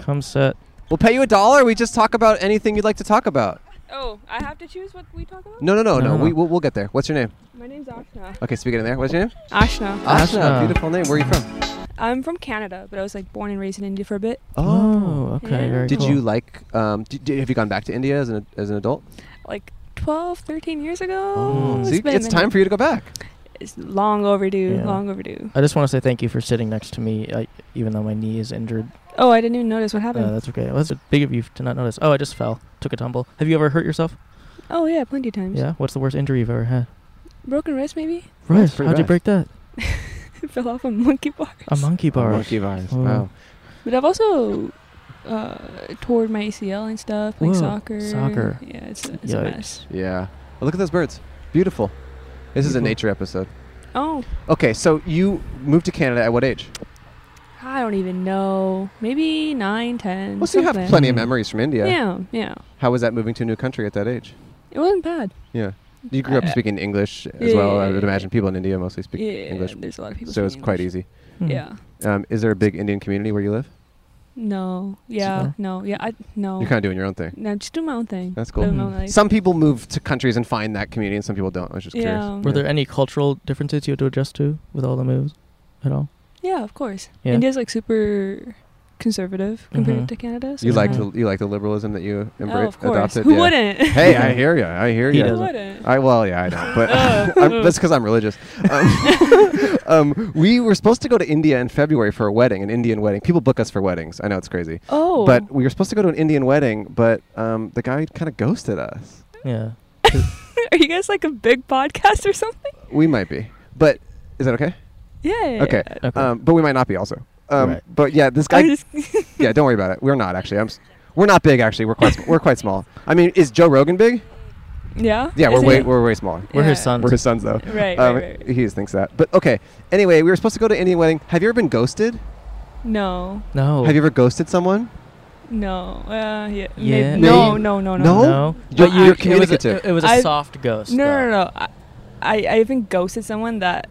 Come set. We'll pay you a dollar. We just talk about anything you'd like to talk about. Oh, I have to choose what we talk about? No, no, no, no. No, no. We, we'll, we'll get there. What's your name? My name's Ashna. Okay, speaking in there. What's your name? Ashna. Ashna. Beautiful name. Where are you from? I'm from Canada, but I was like born and raised in India for a bit. Oh, okay. Yeah. Very Did cool. you like, um, did, did- have you gone back to India as an, as an adult? Like 12, 13 years ago. Oh, See, been a it's time minute. for you to go back. It's long overdue. Yeah. Long overdue. I just want to say thank you for sitting next to me, I, even though my knee is injured. Oh, I didn't even notice what Uh, happened. that's okay. Well, that's big of you to not notice. Oh, I just fell. Took a tumble. Have you ever hurt yourself? oh, yeah, plenty of times. Yeah. What's the worst injury you've ever had? Broken wrist, maybe? Right. it's pretty How'd you bad. break that? Fell off a monkey bar. A monkey bar. Monkey bars. Oh. Wow. But I've also uh, toured my ACL and stuff, like Whoa, soccer. soccer. Yeah, it's, a, it's a Yikes. mess. Yeah. Oh, look at those birds. Beautiful. This is a Beautiful. nature episode. Oh, Okay, so you moved to Canada at what age? I don't even know. Maybe nine, ten. Well, so you have something. plenty of Mm. memories from India. Yeah, yeah. How was that moving to a new country at that age? It wasn't bad. Yeah. You grew up Uh, speaking English as well. I yeah, would yeah. imagine people in India mostly speak yeah, English, there's a lot of people. so it's speaking quite English. easy. Hmm. Yeah. Um, is there a big Indian community where you live? No. Yeah. Sure. No. Yeah. I no. You're kind of doing your own thing. No, just do my own thing. That's cool. Live my own life. Some people move to countries and find that community, and some people don't. I was just Yeah. curious. Were there any cultural differences you had to adjust to with all the moves at all? Yeah, of course. Yeah. India's like super conservative compared Mhm. to Canada. So You like yeah. the you like the liberalism that you Oh, embrace of course. adopted. Who yeah. wouldn't? Hey, I hear you. I hear He you. Who doesn't. wouldn't? I well, yeah, I know, but Uh, I'm, that's because I'm religious. Um, um, we were supposed to go to India in February for a wedding, an Indian wedding. People book us for weddings. I know it's crazy, oh. but we were supposed to go to an Indian wedding, but um, the guy kind of ghosted us. Yeah. are you guys like a big podcast or something? We might be, but is that okay? Yeah. Okay, Okay. um, but we might not be also. Um, Right. But yeah, this I guy. just- yeah, don't worry about it. We're not actually. I'm. s- We're not big actually. We're quite. sm- we're quite small. I mean, is Joe Rogan big? yeah. Yeah, Is we're it- way we're way smaller. We're Yeah. his sons. We're his sons though. Right, right, Um, right, right. He just thinks that. But okay. Anyway, we were supposed to go to Indian wedding. Have you ever been ghosted? No. no. Have you ever ghosted someone? No. Uh, yeah. Yeah. Maybe. No, Maybe. no. No. No. No? No. You're- But you're you- communicative. It was a, it was a I've- soft ghost. No, though. no, no. I, I I even ghosted someone that.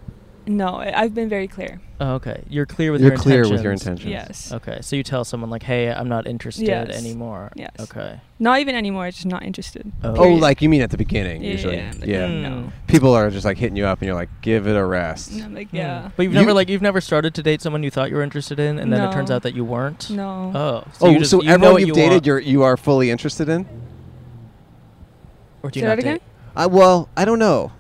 No, I- I've been very clear. Oh, okay. You're clear with You're your clear intentions. with your intentions. Yes. Okay. So you tell someone like, "Hey, I'm not interested Yes. anymore." Yes. Okay. Not even anymore. Just not interested. Oh. Oh, Period. like you mean at the beginning Yeah, usually. yeah, like, yeah. mm. Mm. People are just like hitting you up, and you're like, give it a rest. And I'm like, yeah. Hmm. But you've You- never like you've never started to date someone you thought you were interested in, and then it turns No. out that you weren't. No. Oh. So oh, you just, so you know everyone what you've you dated, want, you're you are fully interested in? or do Say you that not again? date? I well, I don't know.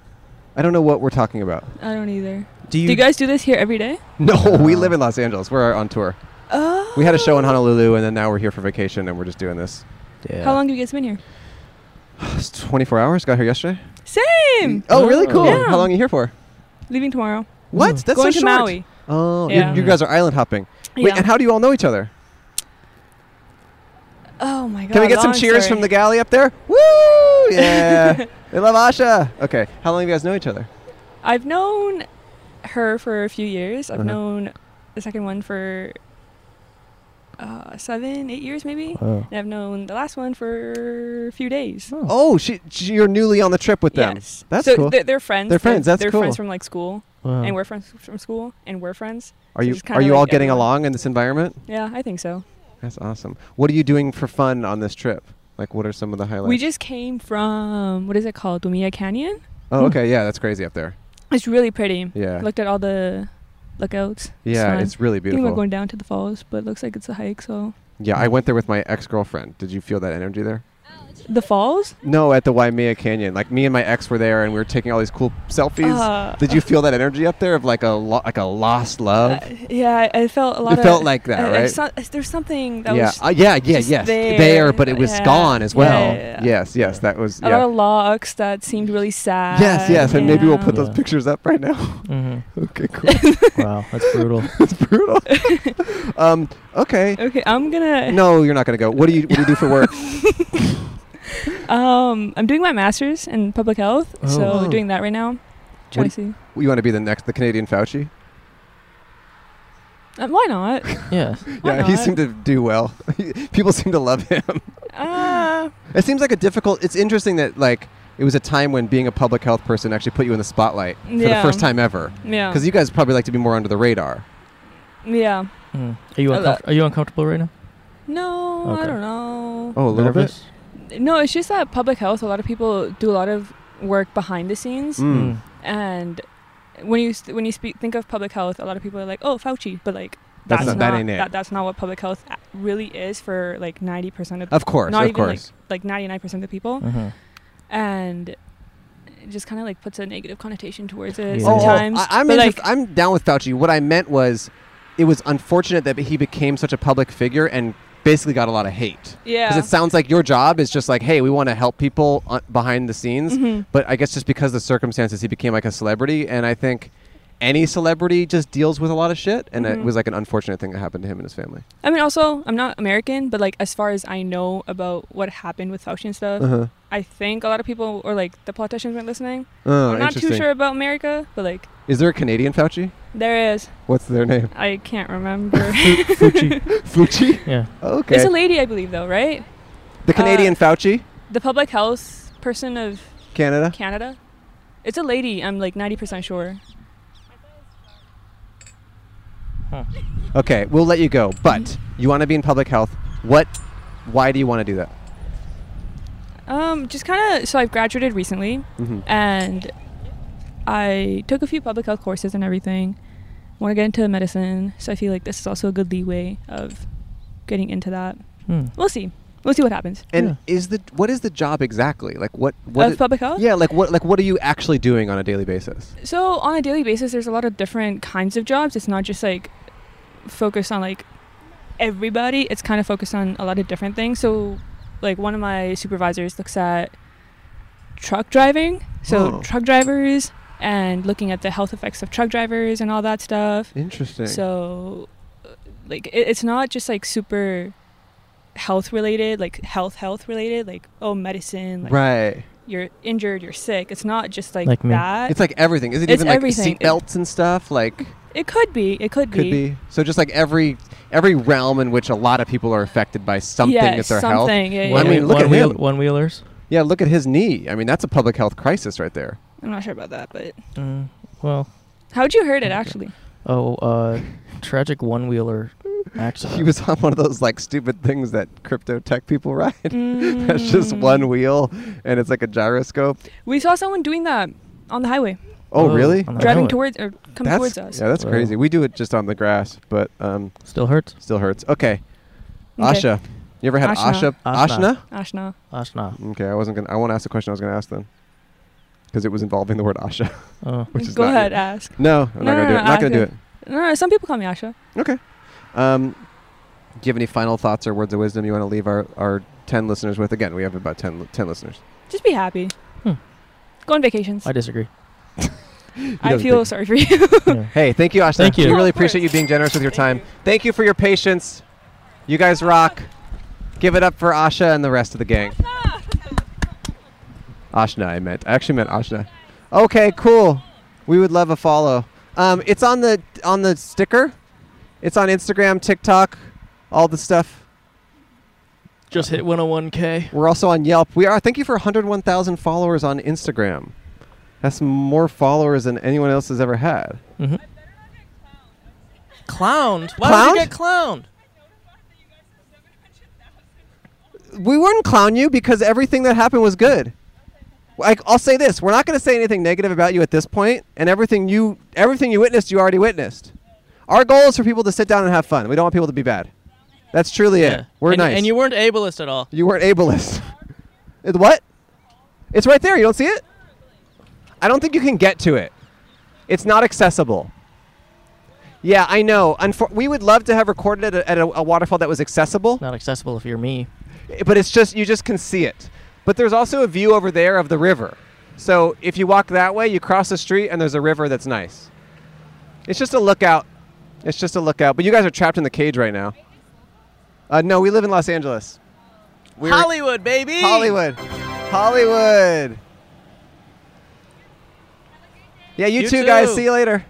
I don't know what we're talking about. I don't either. Do you? Do you guys do this here every day? No, we live in Los Angeles. We're on tour. Oh. We had a show in Honolulu, and then now we're here for vacation, and we're just doing this. Yeah. How long have you guys been here? It's 24 hours. Got here yesterday. Same. Oh, really? Cool. Yeah. How long are you here for? Leaving tomorrow. What? That's Going so to short. Maui. Hmm. Oh, you- Yeah. you, guys are island hopping. Wait, Yeah. and how do you all know each other? oh my god. Can we get some long cheers story. from the galley up there? Woo! Yeah. they love Asha. Okay. How long have you guys know each other? I've known her for a few years. I've Uh-huh. known the second one for uh, seven, eight years maybe. Oh. And I've known the last one for a few days. Oh, she, she, you're newly on the trip with them. Yes. That's so cool. They're, they're friends. They're friends, that's They're cool. friends from like school, Wow. and we're friends from school, and we're friends. Are you just kinda are you all like getting everyone. along in this environment? Yeah, I think so. That's awesome. What are you doing for fun on this trip? Like, what are some of the highlights? We just came from what is it called, Dumia Canyon. oh, okay. Yeah, that's crazy up there. It's really pretty. Yeah. Looked at all the lookouts. It's yeah, fun. it's really I think we're beautiful. going down to the falls, but it looks like it's a hike. So Yeah, I went there with my ex girlfriend. Did you feel that energy there? the falls. No, at the Waimea Canyon. Like me and my ex were there, and we were taking all these cool selfies. Uh, Did you feel that energy up there of like a lo- like a lost love? Uh, yeah, I I felt a lot. it felt of, like that, I- I right? saw- there's something that yeah, was uh, yeah, yeah, just yes, there. there, but it was Yeah. gone as well. Yeah, yeah, yeah. Yes, yes, that was a lot yeah. of locks that seemed really sad. Yes, yes, and maybe we'll put yeah. those pictures up right now. Mm-hmm. okay, cool. wow, that's brutal. It's brutal. um, okay. Okay, I'm gonna. No, you're not gonna go. What do you What do you do for work? Um, I'm doing my master's in public health, Oh. so doing that right now. Trying to see. you want to be the next the Canadian Fauci? Uh, why not? yeah. Why yeah, he not? seemed to do well. People seem to love him. uh, It seems like a difficult. It's interesting that like it was a time when being a public health person actually put you in the spotlight for the Yeah. Oh. first time ever. yeah. Because you guys probably like to be more under the radar. yeah. Mm. Are you I lo- uncomf- are you uncomfortable right now? No, I Okay. don't know. Oh, a little bit. Nervous? No, it's just that public health. A lot of people do a lot of work behind the scenes, Mm. and when you st- when you speak think of public health, a lot of people are like, "Oh, Fauci," but like That's that's, not- not, that ain't it. that- that's not what public health a- really is for like ninety percent of Of course, not of even course. Mm. like ninety nine percent of the people, Mhm. and it just kind of like puts a negative connotation towards it Yeah. Oh, oh, sometimes. I, am but like I'm down with Fauci. What I meant was, it was unfortunate that he became such a public figure and basically got a lot of hate. Because yeah, it sounds like your job is just like, hey, we want to help people uh, behind the scenes. Mhm. But I guess just because of the circumstances, he became like a celebrity. And I think any celebrity just deals with a lot of shit. And it Mhm. was like an unfortunate thing that happened to him and his family. I mean, also I'm not American, but like as far as I know about what happened with Fauci and stuff, Uh-huh. I think a lot of people or like the politicians weren't listening. Oh, I'm not too interesting. sure about America, but like Is there a Canadian Fauci? there is. What's their name? I can't remember. Fucci? Yeah. Okay. it's a lady, I believe, though, right? the Canadian Fauci, The public health person of Canada. Canada. It's a lady. I'm like 90% sure. Okay, we'll let you go. But Mm-hmm. you want to be in public health. What? Why do you want to do that? Um, just kind of. So I've graduated recently, Mhm. and I took a few public health courses and everything. Want to get into medicine, so I feel like this is also a good leeway of getting into that. Hmm. We'll see. We'll see what happens. And is the what is the job exactly? Like what? What Of i- public health? Yeah, like what? Like what are you actually doing on a daily basis? So on a daily basis, there's a lot of different kinds of jobs. It's not just like focused on like everybody. It's kind of focused on a lot of different things. So like one of my supervisors looks at truck driving, so Whoa. truck drivers and looking at the health effects of truck drivers and all that stuff. Interesting. So uh, like it, it's not just like super health related, like health health related, like oh medicine, like Right. You're injured, you're sick. It's not just like, Like me. that. It's like everything. Is it It's even like everything. seat belts and stuff? Like It could be. It could, could be. So just like every every realm in which a lot of people are affected by something Yeah, at their health. something, yeah, I yeah. mean, look One at wheel- him. One wheelers. Yeah, look at his knee. I mean, that's a public health crisis right there. I'm not sure about that, but Mm, well, how'd you hurt it actually? oh, uh, tragic one wheeler accident. He was on one of those like stupid things that crypto tech people ride. That's just one wheel, and it's like a gyroscope. Mm. We saw someone doing that on the highway, Oh, Whoa, really? on the driving highway. towards or "Oh, coming towards us. Yeah, that's Wow. crazy. We do it just on the grass, but um, uh, still hurts. Still hurts. Okay. Okay. Asha, you ever had Ashna. Asha? Ashna? Ashna. Ashna. Okay, I wasn't gonna. I won't ask the question I was gonna ask then, because it was involving the word Asha. Oh. which is Go not ahead, you. ask. No, I'm not gonna do it. Not gonna do it. Asha. No, no, some people call me Asha. Okay. Um, do you have any final thoughts or words of wisdom you want to leave our our ten listeners with? Again, we have about 10, li- 10 listeners. Just be happy. Go on vacations. Hmm. I disagree. I doesn't feel think- sorry for you. Hey, thank you, Ashna. Thank you. We Oh, really of appreciate you being generous with your time. Thank you for your patience. You guys rock. Give it up for Asha and the rest of the gang. Ashna, I meant. I actually meant Ashna. Okay, cool. We would love a follow. Um, it's on the on the sticker. It's on Instagram, TikTok, all the stuff. Just hit 101k. We're also on Yelp. We are. Thank you for 101,000 followers on Instagram. That's more followers than anyone else has ever had. Clowned. Why would Clowned? you get clowned? we wouldn't clown you because everything that happened was good. Like I'll say this, we're not going to say anything negative about you at this point, and everything you everything you witnessed, you already witnessed. Our goal is for people to sit down and have fun. We don't want people to be bad. That's truly it. We're and, nice. And you weren't ableist at all. You weren't ableist. It- what? It's right there. You don't see it? I don't think you can get to it. It's not accessible. Yeah, I know. Unfor- we would love to have recorded it at a, at a, a waterfall that was accessible. Not accessible if you're me. I- but it's just you just can see it. But there's also a view over there of the river. So if you walk that way, you cross the street and there's a river that's nice. It's just a lookout. It's just a lookout. But you guys are trapped in the cage right now. Uh, no, we live in Los Angeles. We're Hollywood, baby. Hollywood. Hollywood. Yeah, you, You two guys. too. See you later.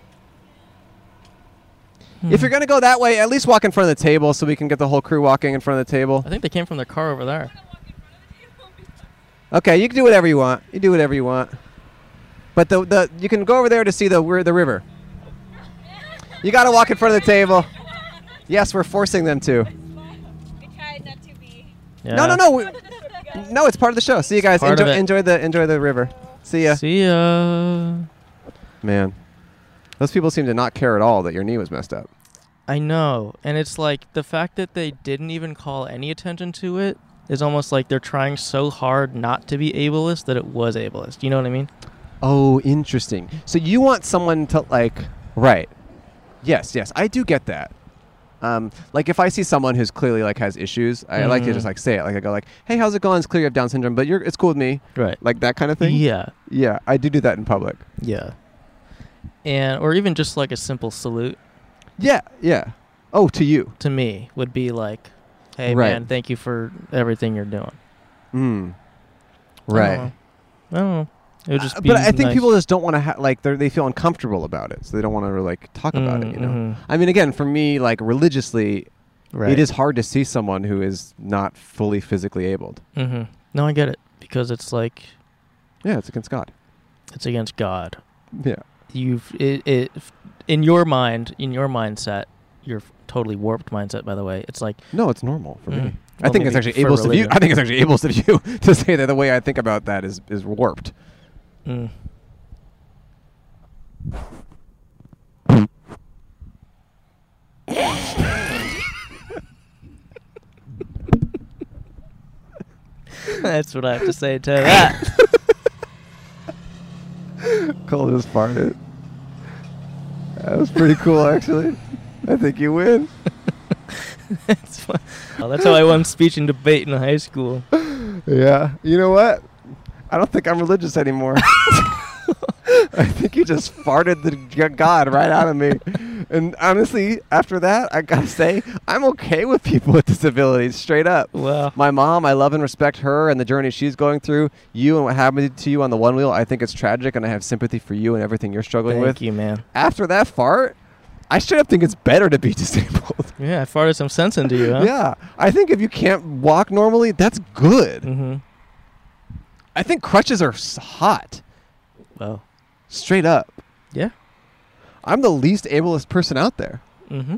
If you're gonna go that way, at least walk in front of the table so we can get the whole crew walking in front of the table. I think they came from their car over there. Okay, you can do whatever you want. You do whatever you want. But the, the you can go over there to see the ri- the river. You gotta walk in front of the table. Yes, we're forcing them to. No, no, no. we- no, it's part of the show. See you guys. part of Enjoy, it. enjoy the enjoy the river. See ya. See ya. Man, those people seem to not care at all that your knee was messed up. I know. And it's like the fact that they didn't even call any attention to it is almost like they're trying so hard not to be ableist that it was ableist. You know what I mean? Oh, interesting. So you want someone to like, right? Yes, yes, I do get that. Um, like if I see someone who's clearly like has issues, I like to Mhm. just like say it. Like I go like, "Hey, how's it going? It's clear you have Down syndrome, but you're it's cool with me." Right. Like that kind of thing. Yeah. Yeah, I do do that in public. Yeah. And or even just like a simple salute Yeah, yeah. Oh, to you. to me would be like, "Hey Right. man, thank you for everything you're doing." Mm. Right. I don't know. I don't know. It would just Uh, be but I think nice. people just don't want to ha- like they're- they feel uncomfortable about it, so they don't want to like talk about it. You know, Mm, mhm. I mean, again, for me, like religiously, Right. it is hard to see someone who is not fully physically abled. Mhm. No, I get it because it's like Yeah, it's against God. it's against God. Yeah, You've it, it in your mind, in your mindset, your f- totally warped mindset, by the way. It's like No, it's normal for me. Mm. I Well, think it's maybe actually for ableist of you. religion. I think it's actually ableist of you to say that the way I think about that is is warped. Mm. That's what I have to say to that. Cole just farted. That was pretty cool, actually. I think you win. that's, fun. Oh, that's how I won speech and debate in high school. Yeah. You know what? I don't think I'm religious anymore. I think you just farted the g- God right out of me. And honestly, after that, I gotta say, I'm okay with people with disabilities, straight up. Wow. My mom, I love and respect her and the journey she's going through. You and what happened to you on the one wheel, I think it's tragic, and I have sympathy for you and everything you're struggling Thank with. you, man. After that fart, I straight up think it's better to be disabled. Yeah, I farted some sense into you, huh? Yeah. I think if you can't walk normally, that's good. Mm-hmm. I think crutches are s- hot, Well, straight up. yeah. I'm the least ableist person out there. Mm-hmm.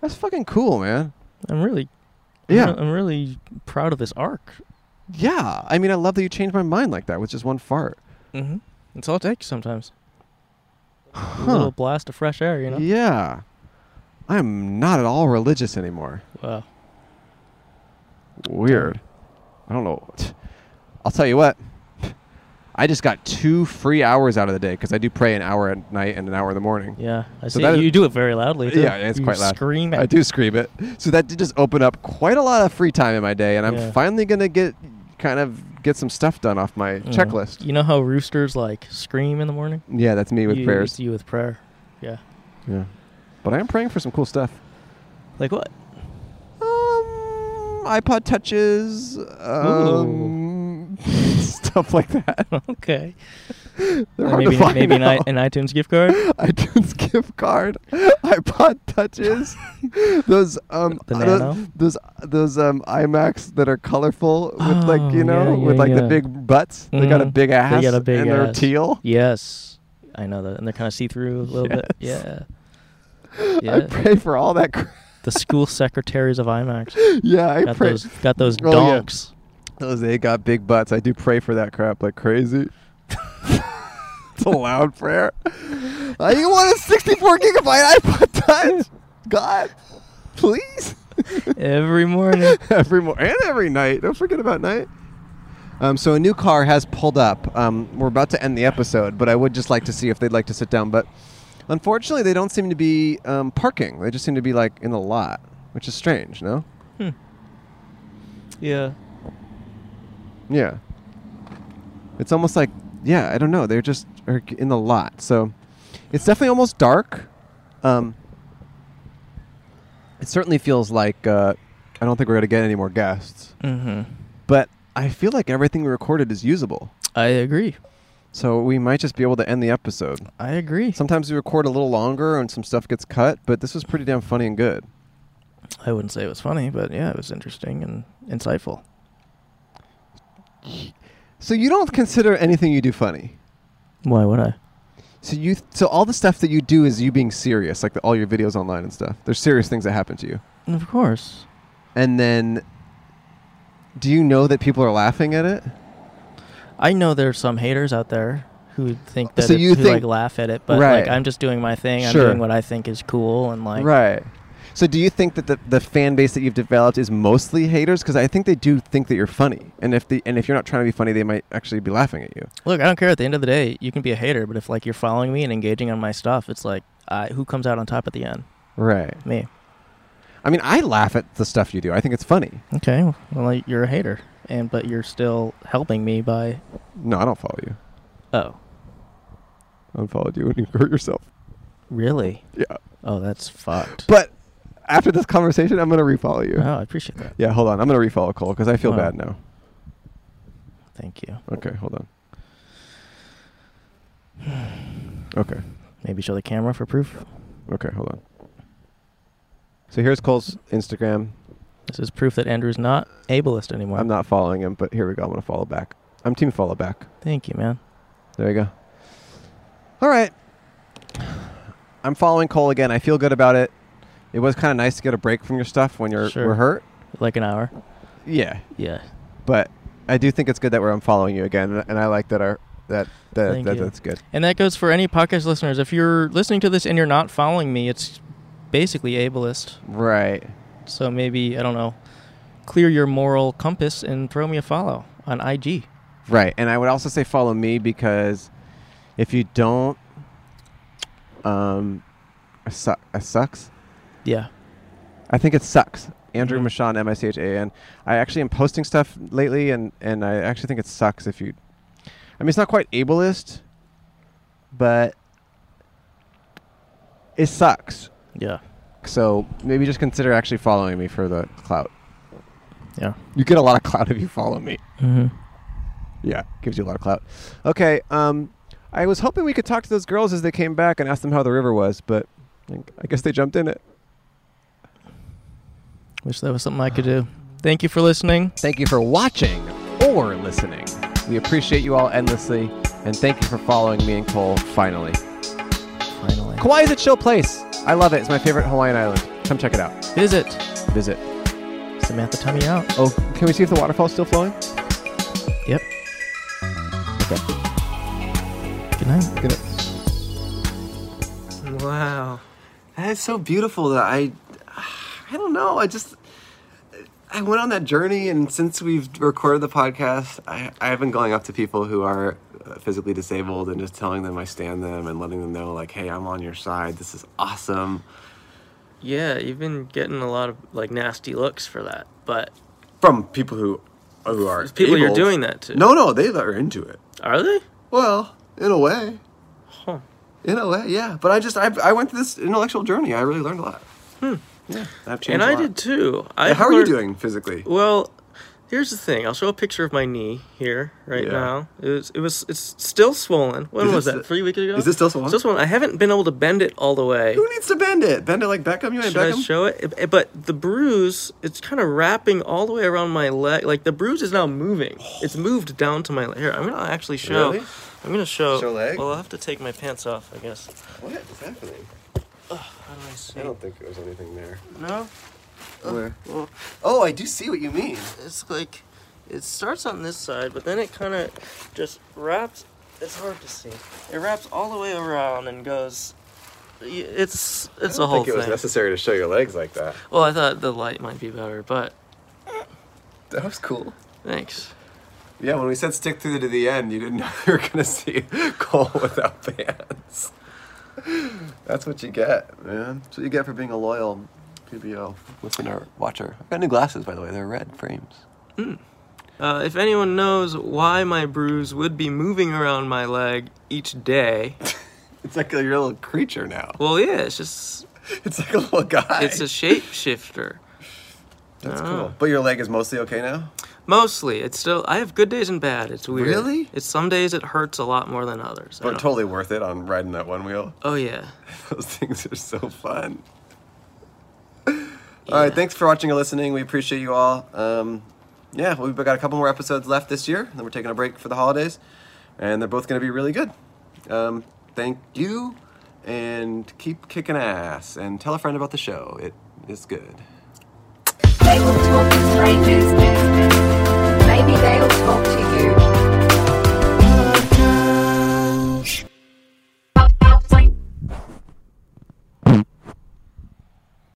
That's fucking cool, man. I'm really, Yeah. I'm really proud of this arc. Yeah. I mean, I love that you changed my mind like that with just one fart. Mm-hmm. It's all it takes sometimes. A Huh. little blast of fresh air, you know. Yeah. I'm not at all religious anymore. Wow. Weird. I don't know. I'll tell you what. I just got two free hours out of the day because I do pray an hour at night and an hour in the morning. Yeah, I So see. that you is- do it very loudly. Too. Yeah, it's You quite loud. Scream I at do scream it. So that did just open up quite a lot of free time in my day, and I'm Yeah. finally gonna get kind of get some stuff done off my Mm. checklist. You know how roosters like scream in the morning? Yeah, that's me with You- prayers. It's you with prayer. Yeah. Yeah, but I am praying for some cool stuff. Like what? Um, iPod touches, um, stuff like that. okay. They're Uh, hard maybe to find maybe an, i- now. an iTunes gift card. iTunes gift card, iPod touches, those um The uh, Nano? those those um IMAX that are colorful with Oh, like you know yeah, with yeah, like yeah. the big butts. They got a Mhm. big ass. They got a big and they're ass. teal. Yes, I know that, and they're kind of see through a little bit. Yeah. I Yeah. pray for all that. Cr- the school secretaries of IMAX yeah, I got pray. those got those Oh, yeah. donks. Those they got big butts. I do pray for that crap like crazy. it's a loud prayer. Uh, you want a 64 gigabyte iPod touch? God, please. Every morning. every mo- and every night. Don't forget about night. Um, so a new car has pulled up. Um, we're about to end the episode, but I would just like to see if they'd like to sit down. But unfortunately, they don't seem to be um, parking. They just seem to be like in the lot, which is strange. No. yeah. Yeah. It's almost like yeah. I don't know. They're just are g- in the lot. So it's definitely almost dark. Um, it certainly feels like uh, I don't think we're gonna get any more guests. Mm-hmm. but I feel like everything we recorded is usable. I agree. So we might just be able to end the episode. I agree. Sometimes we record a little longer and some stuff gets cut, but this was pretty damn funny and good. I wouldn't say it was funny, but yeah, it was interesting and insightful. So you don't consider anything you do funny. Why would I? So you so all the stuff that you do is you being serious, like the, all your videos online and stuff. There's serious things that happen to you. Of course. And then do you know that people are laughing at it? I know there's some haters out there who think that So it's, you who like think- laugh at it, but Right. like I'm just doing my thing. Sure. I'm doing what I think is cool and like right. So do you think that the, the fan base that you've developed is mostly haters? Because I think they do think that you're funny, and if the and if you're not trying to be funny, they might actually be laughing at you. look, I don't care at the end of the day, you can be a hater, but if like you're following me and engaging on my stuff, it's like I, who comes out on top at the end? Right. Me. I mean, I laugh at the stuff you do. I think it's funny. Okay. Well, like, you're a hater and but you're still helping me by No, I don't follow you. oh, I unfollowed you and you hurt yourself. really? Yeah. Oh, that's fucked. But after this conversation, I'm gonna refollow you. oh, I appreciate that. Yeah, hold on. I'm gonna refollow Cole because I feel Wow. bad now. Thank you. Okay, hold on. Okay, Maybe show the camera for proof. okay, hold on. So here's Cole's Instagram. This is proof that Andrew's not ableist anymore. I'm not following him, but here we go. I'm gonna follow back. I'm team follow back. Thank you, man. There you go. All right. I'm following Cole again. I feel good about it. It was kind of nice to get a break from your stuff when you're Sure. we're hurt. Like an hour. Yeah. Yeah. But I do think it's good that we're unfollowing you again, and I like that our that that, Thank that you. that's good. And that goes for any podcast listeners. If you're listening to this and you're not following me, it's basically ableist. Right. So maybe, I don't know, clear your moral compass and throw me a follow on IG. Right. And I would also say follow me because if you don't, um, it, su- it sucks. Yeah. I think it sucks. Andrew Mhm. Michon, M I C H A N. I actually am posting stuff lately, and, and I actually think it sucks if you. I mean, it's not quite ableist, but it sucks. Yeah. So maybe just consider actually following me for the clout. Yeah. You get a lot of clout if you follow me. Mm-hmm. Yeah, gives you a lot of clout. Okay, um, I was hoping we could talk to those girls as they came back and ask them how the river was, but I I guess they jumped in it. Wish that was something I could do. Thank you for listening. Thank you for watching or listening. We appreciate you all endlessly, and thank you for following me and Cole finally. Finally. Kauai is a chill place. I love it. It's my favorite Hawaiian island. Come check it out. Visit Visit. Samantha Tummy out. Oh, can we see if the waterfall's still flowing? Yep. Good night. Good night. Wow. That is so beautiful that I, I don't know. I just, I went on that journey, and since we've recorded the podcast, I, I've been going up to people who are uh, physically disabled and just telling them I stand them and letting them know, like, hey, I'm on your side. This is awesome. Yeah, you've been getting a lot of like nasty looks for that, but From people who, who are there's people you're able- doing that to. No, no, they are into it. Are they? Well, in a way, Huh. in a way, yeah. But I just, I, I went through this intellectual journey. I really learned a lot. Yeah, I've changed. Hmm. And I I did too. I How are you learned- doing physically? Well, here's the thing. I'll show a picture of my knee here right Yeah. now. It was it was it's still swollen. When Is was it that? st- Three weeks ago. is it still swollen? Still swollen. I haven't been able to bend it all the way. Who needs to bend it? Bend it like Beckham. You ain't Should I Beckham. show it? Eh, But the bruise, it's kind of wrapping all the way around my leg. Like the bruise is now moving. It's moved down to my leg. Here, I'm gonna actually show. Really? I'm gonna show. Show leg? Well, I'll have to take my pants off, I guess. What is happening? How do I see? I don't think there's anything there. No, Where? Oh, I do see what you mean. it's like it starts on this side, but then it kind of just wraps. It's hard to see. It wraps all the way around and goes. y- It's it's a whole think it was thing. necessary to show your legs like that. Well, I thought the light might be better, but That was cool. thanks. Yeah, when we said stick through to the end, you didn't know you were gonna see Cole without pants. That's what you get, man. That's what you get for being a loyal PBO listener, watcher. I've got new glasses, by the way. They're red frames. Uh, if anyone knows why my bruise would be moving around my leg each day, It's like a you're a little creature now. well, yeah, it's just It's like a little guy. it's a shapeshifter. That's cool. But your leg is mostly okay now. Mostly, it's still I have good days and bad. It's weird. Really? It's some days it hurts a lot more than others. I But don't- totally worth it on riding that one wheel. Oh yeah. Those things are so fun. All right, thanks for watching and listening. We appreciate you all. Um, yeah, we've got a couple more episodes left this year. Then we're taking a break for the holidays, and they're both going to be really good. Um, thank you, and keep kicking ass. And tell a friend about the show. It is good. They will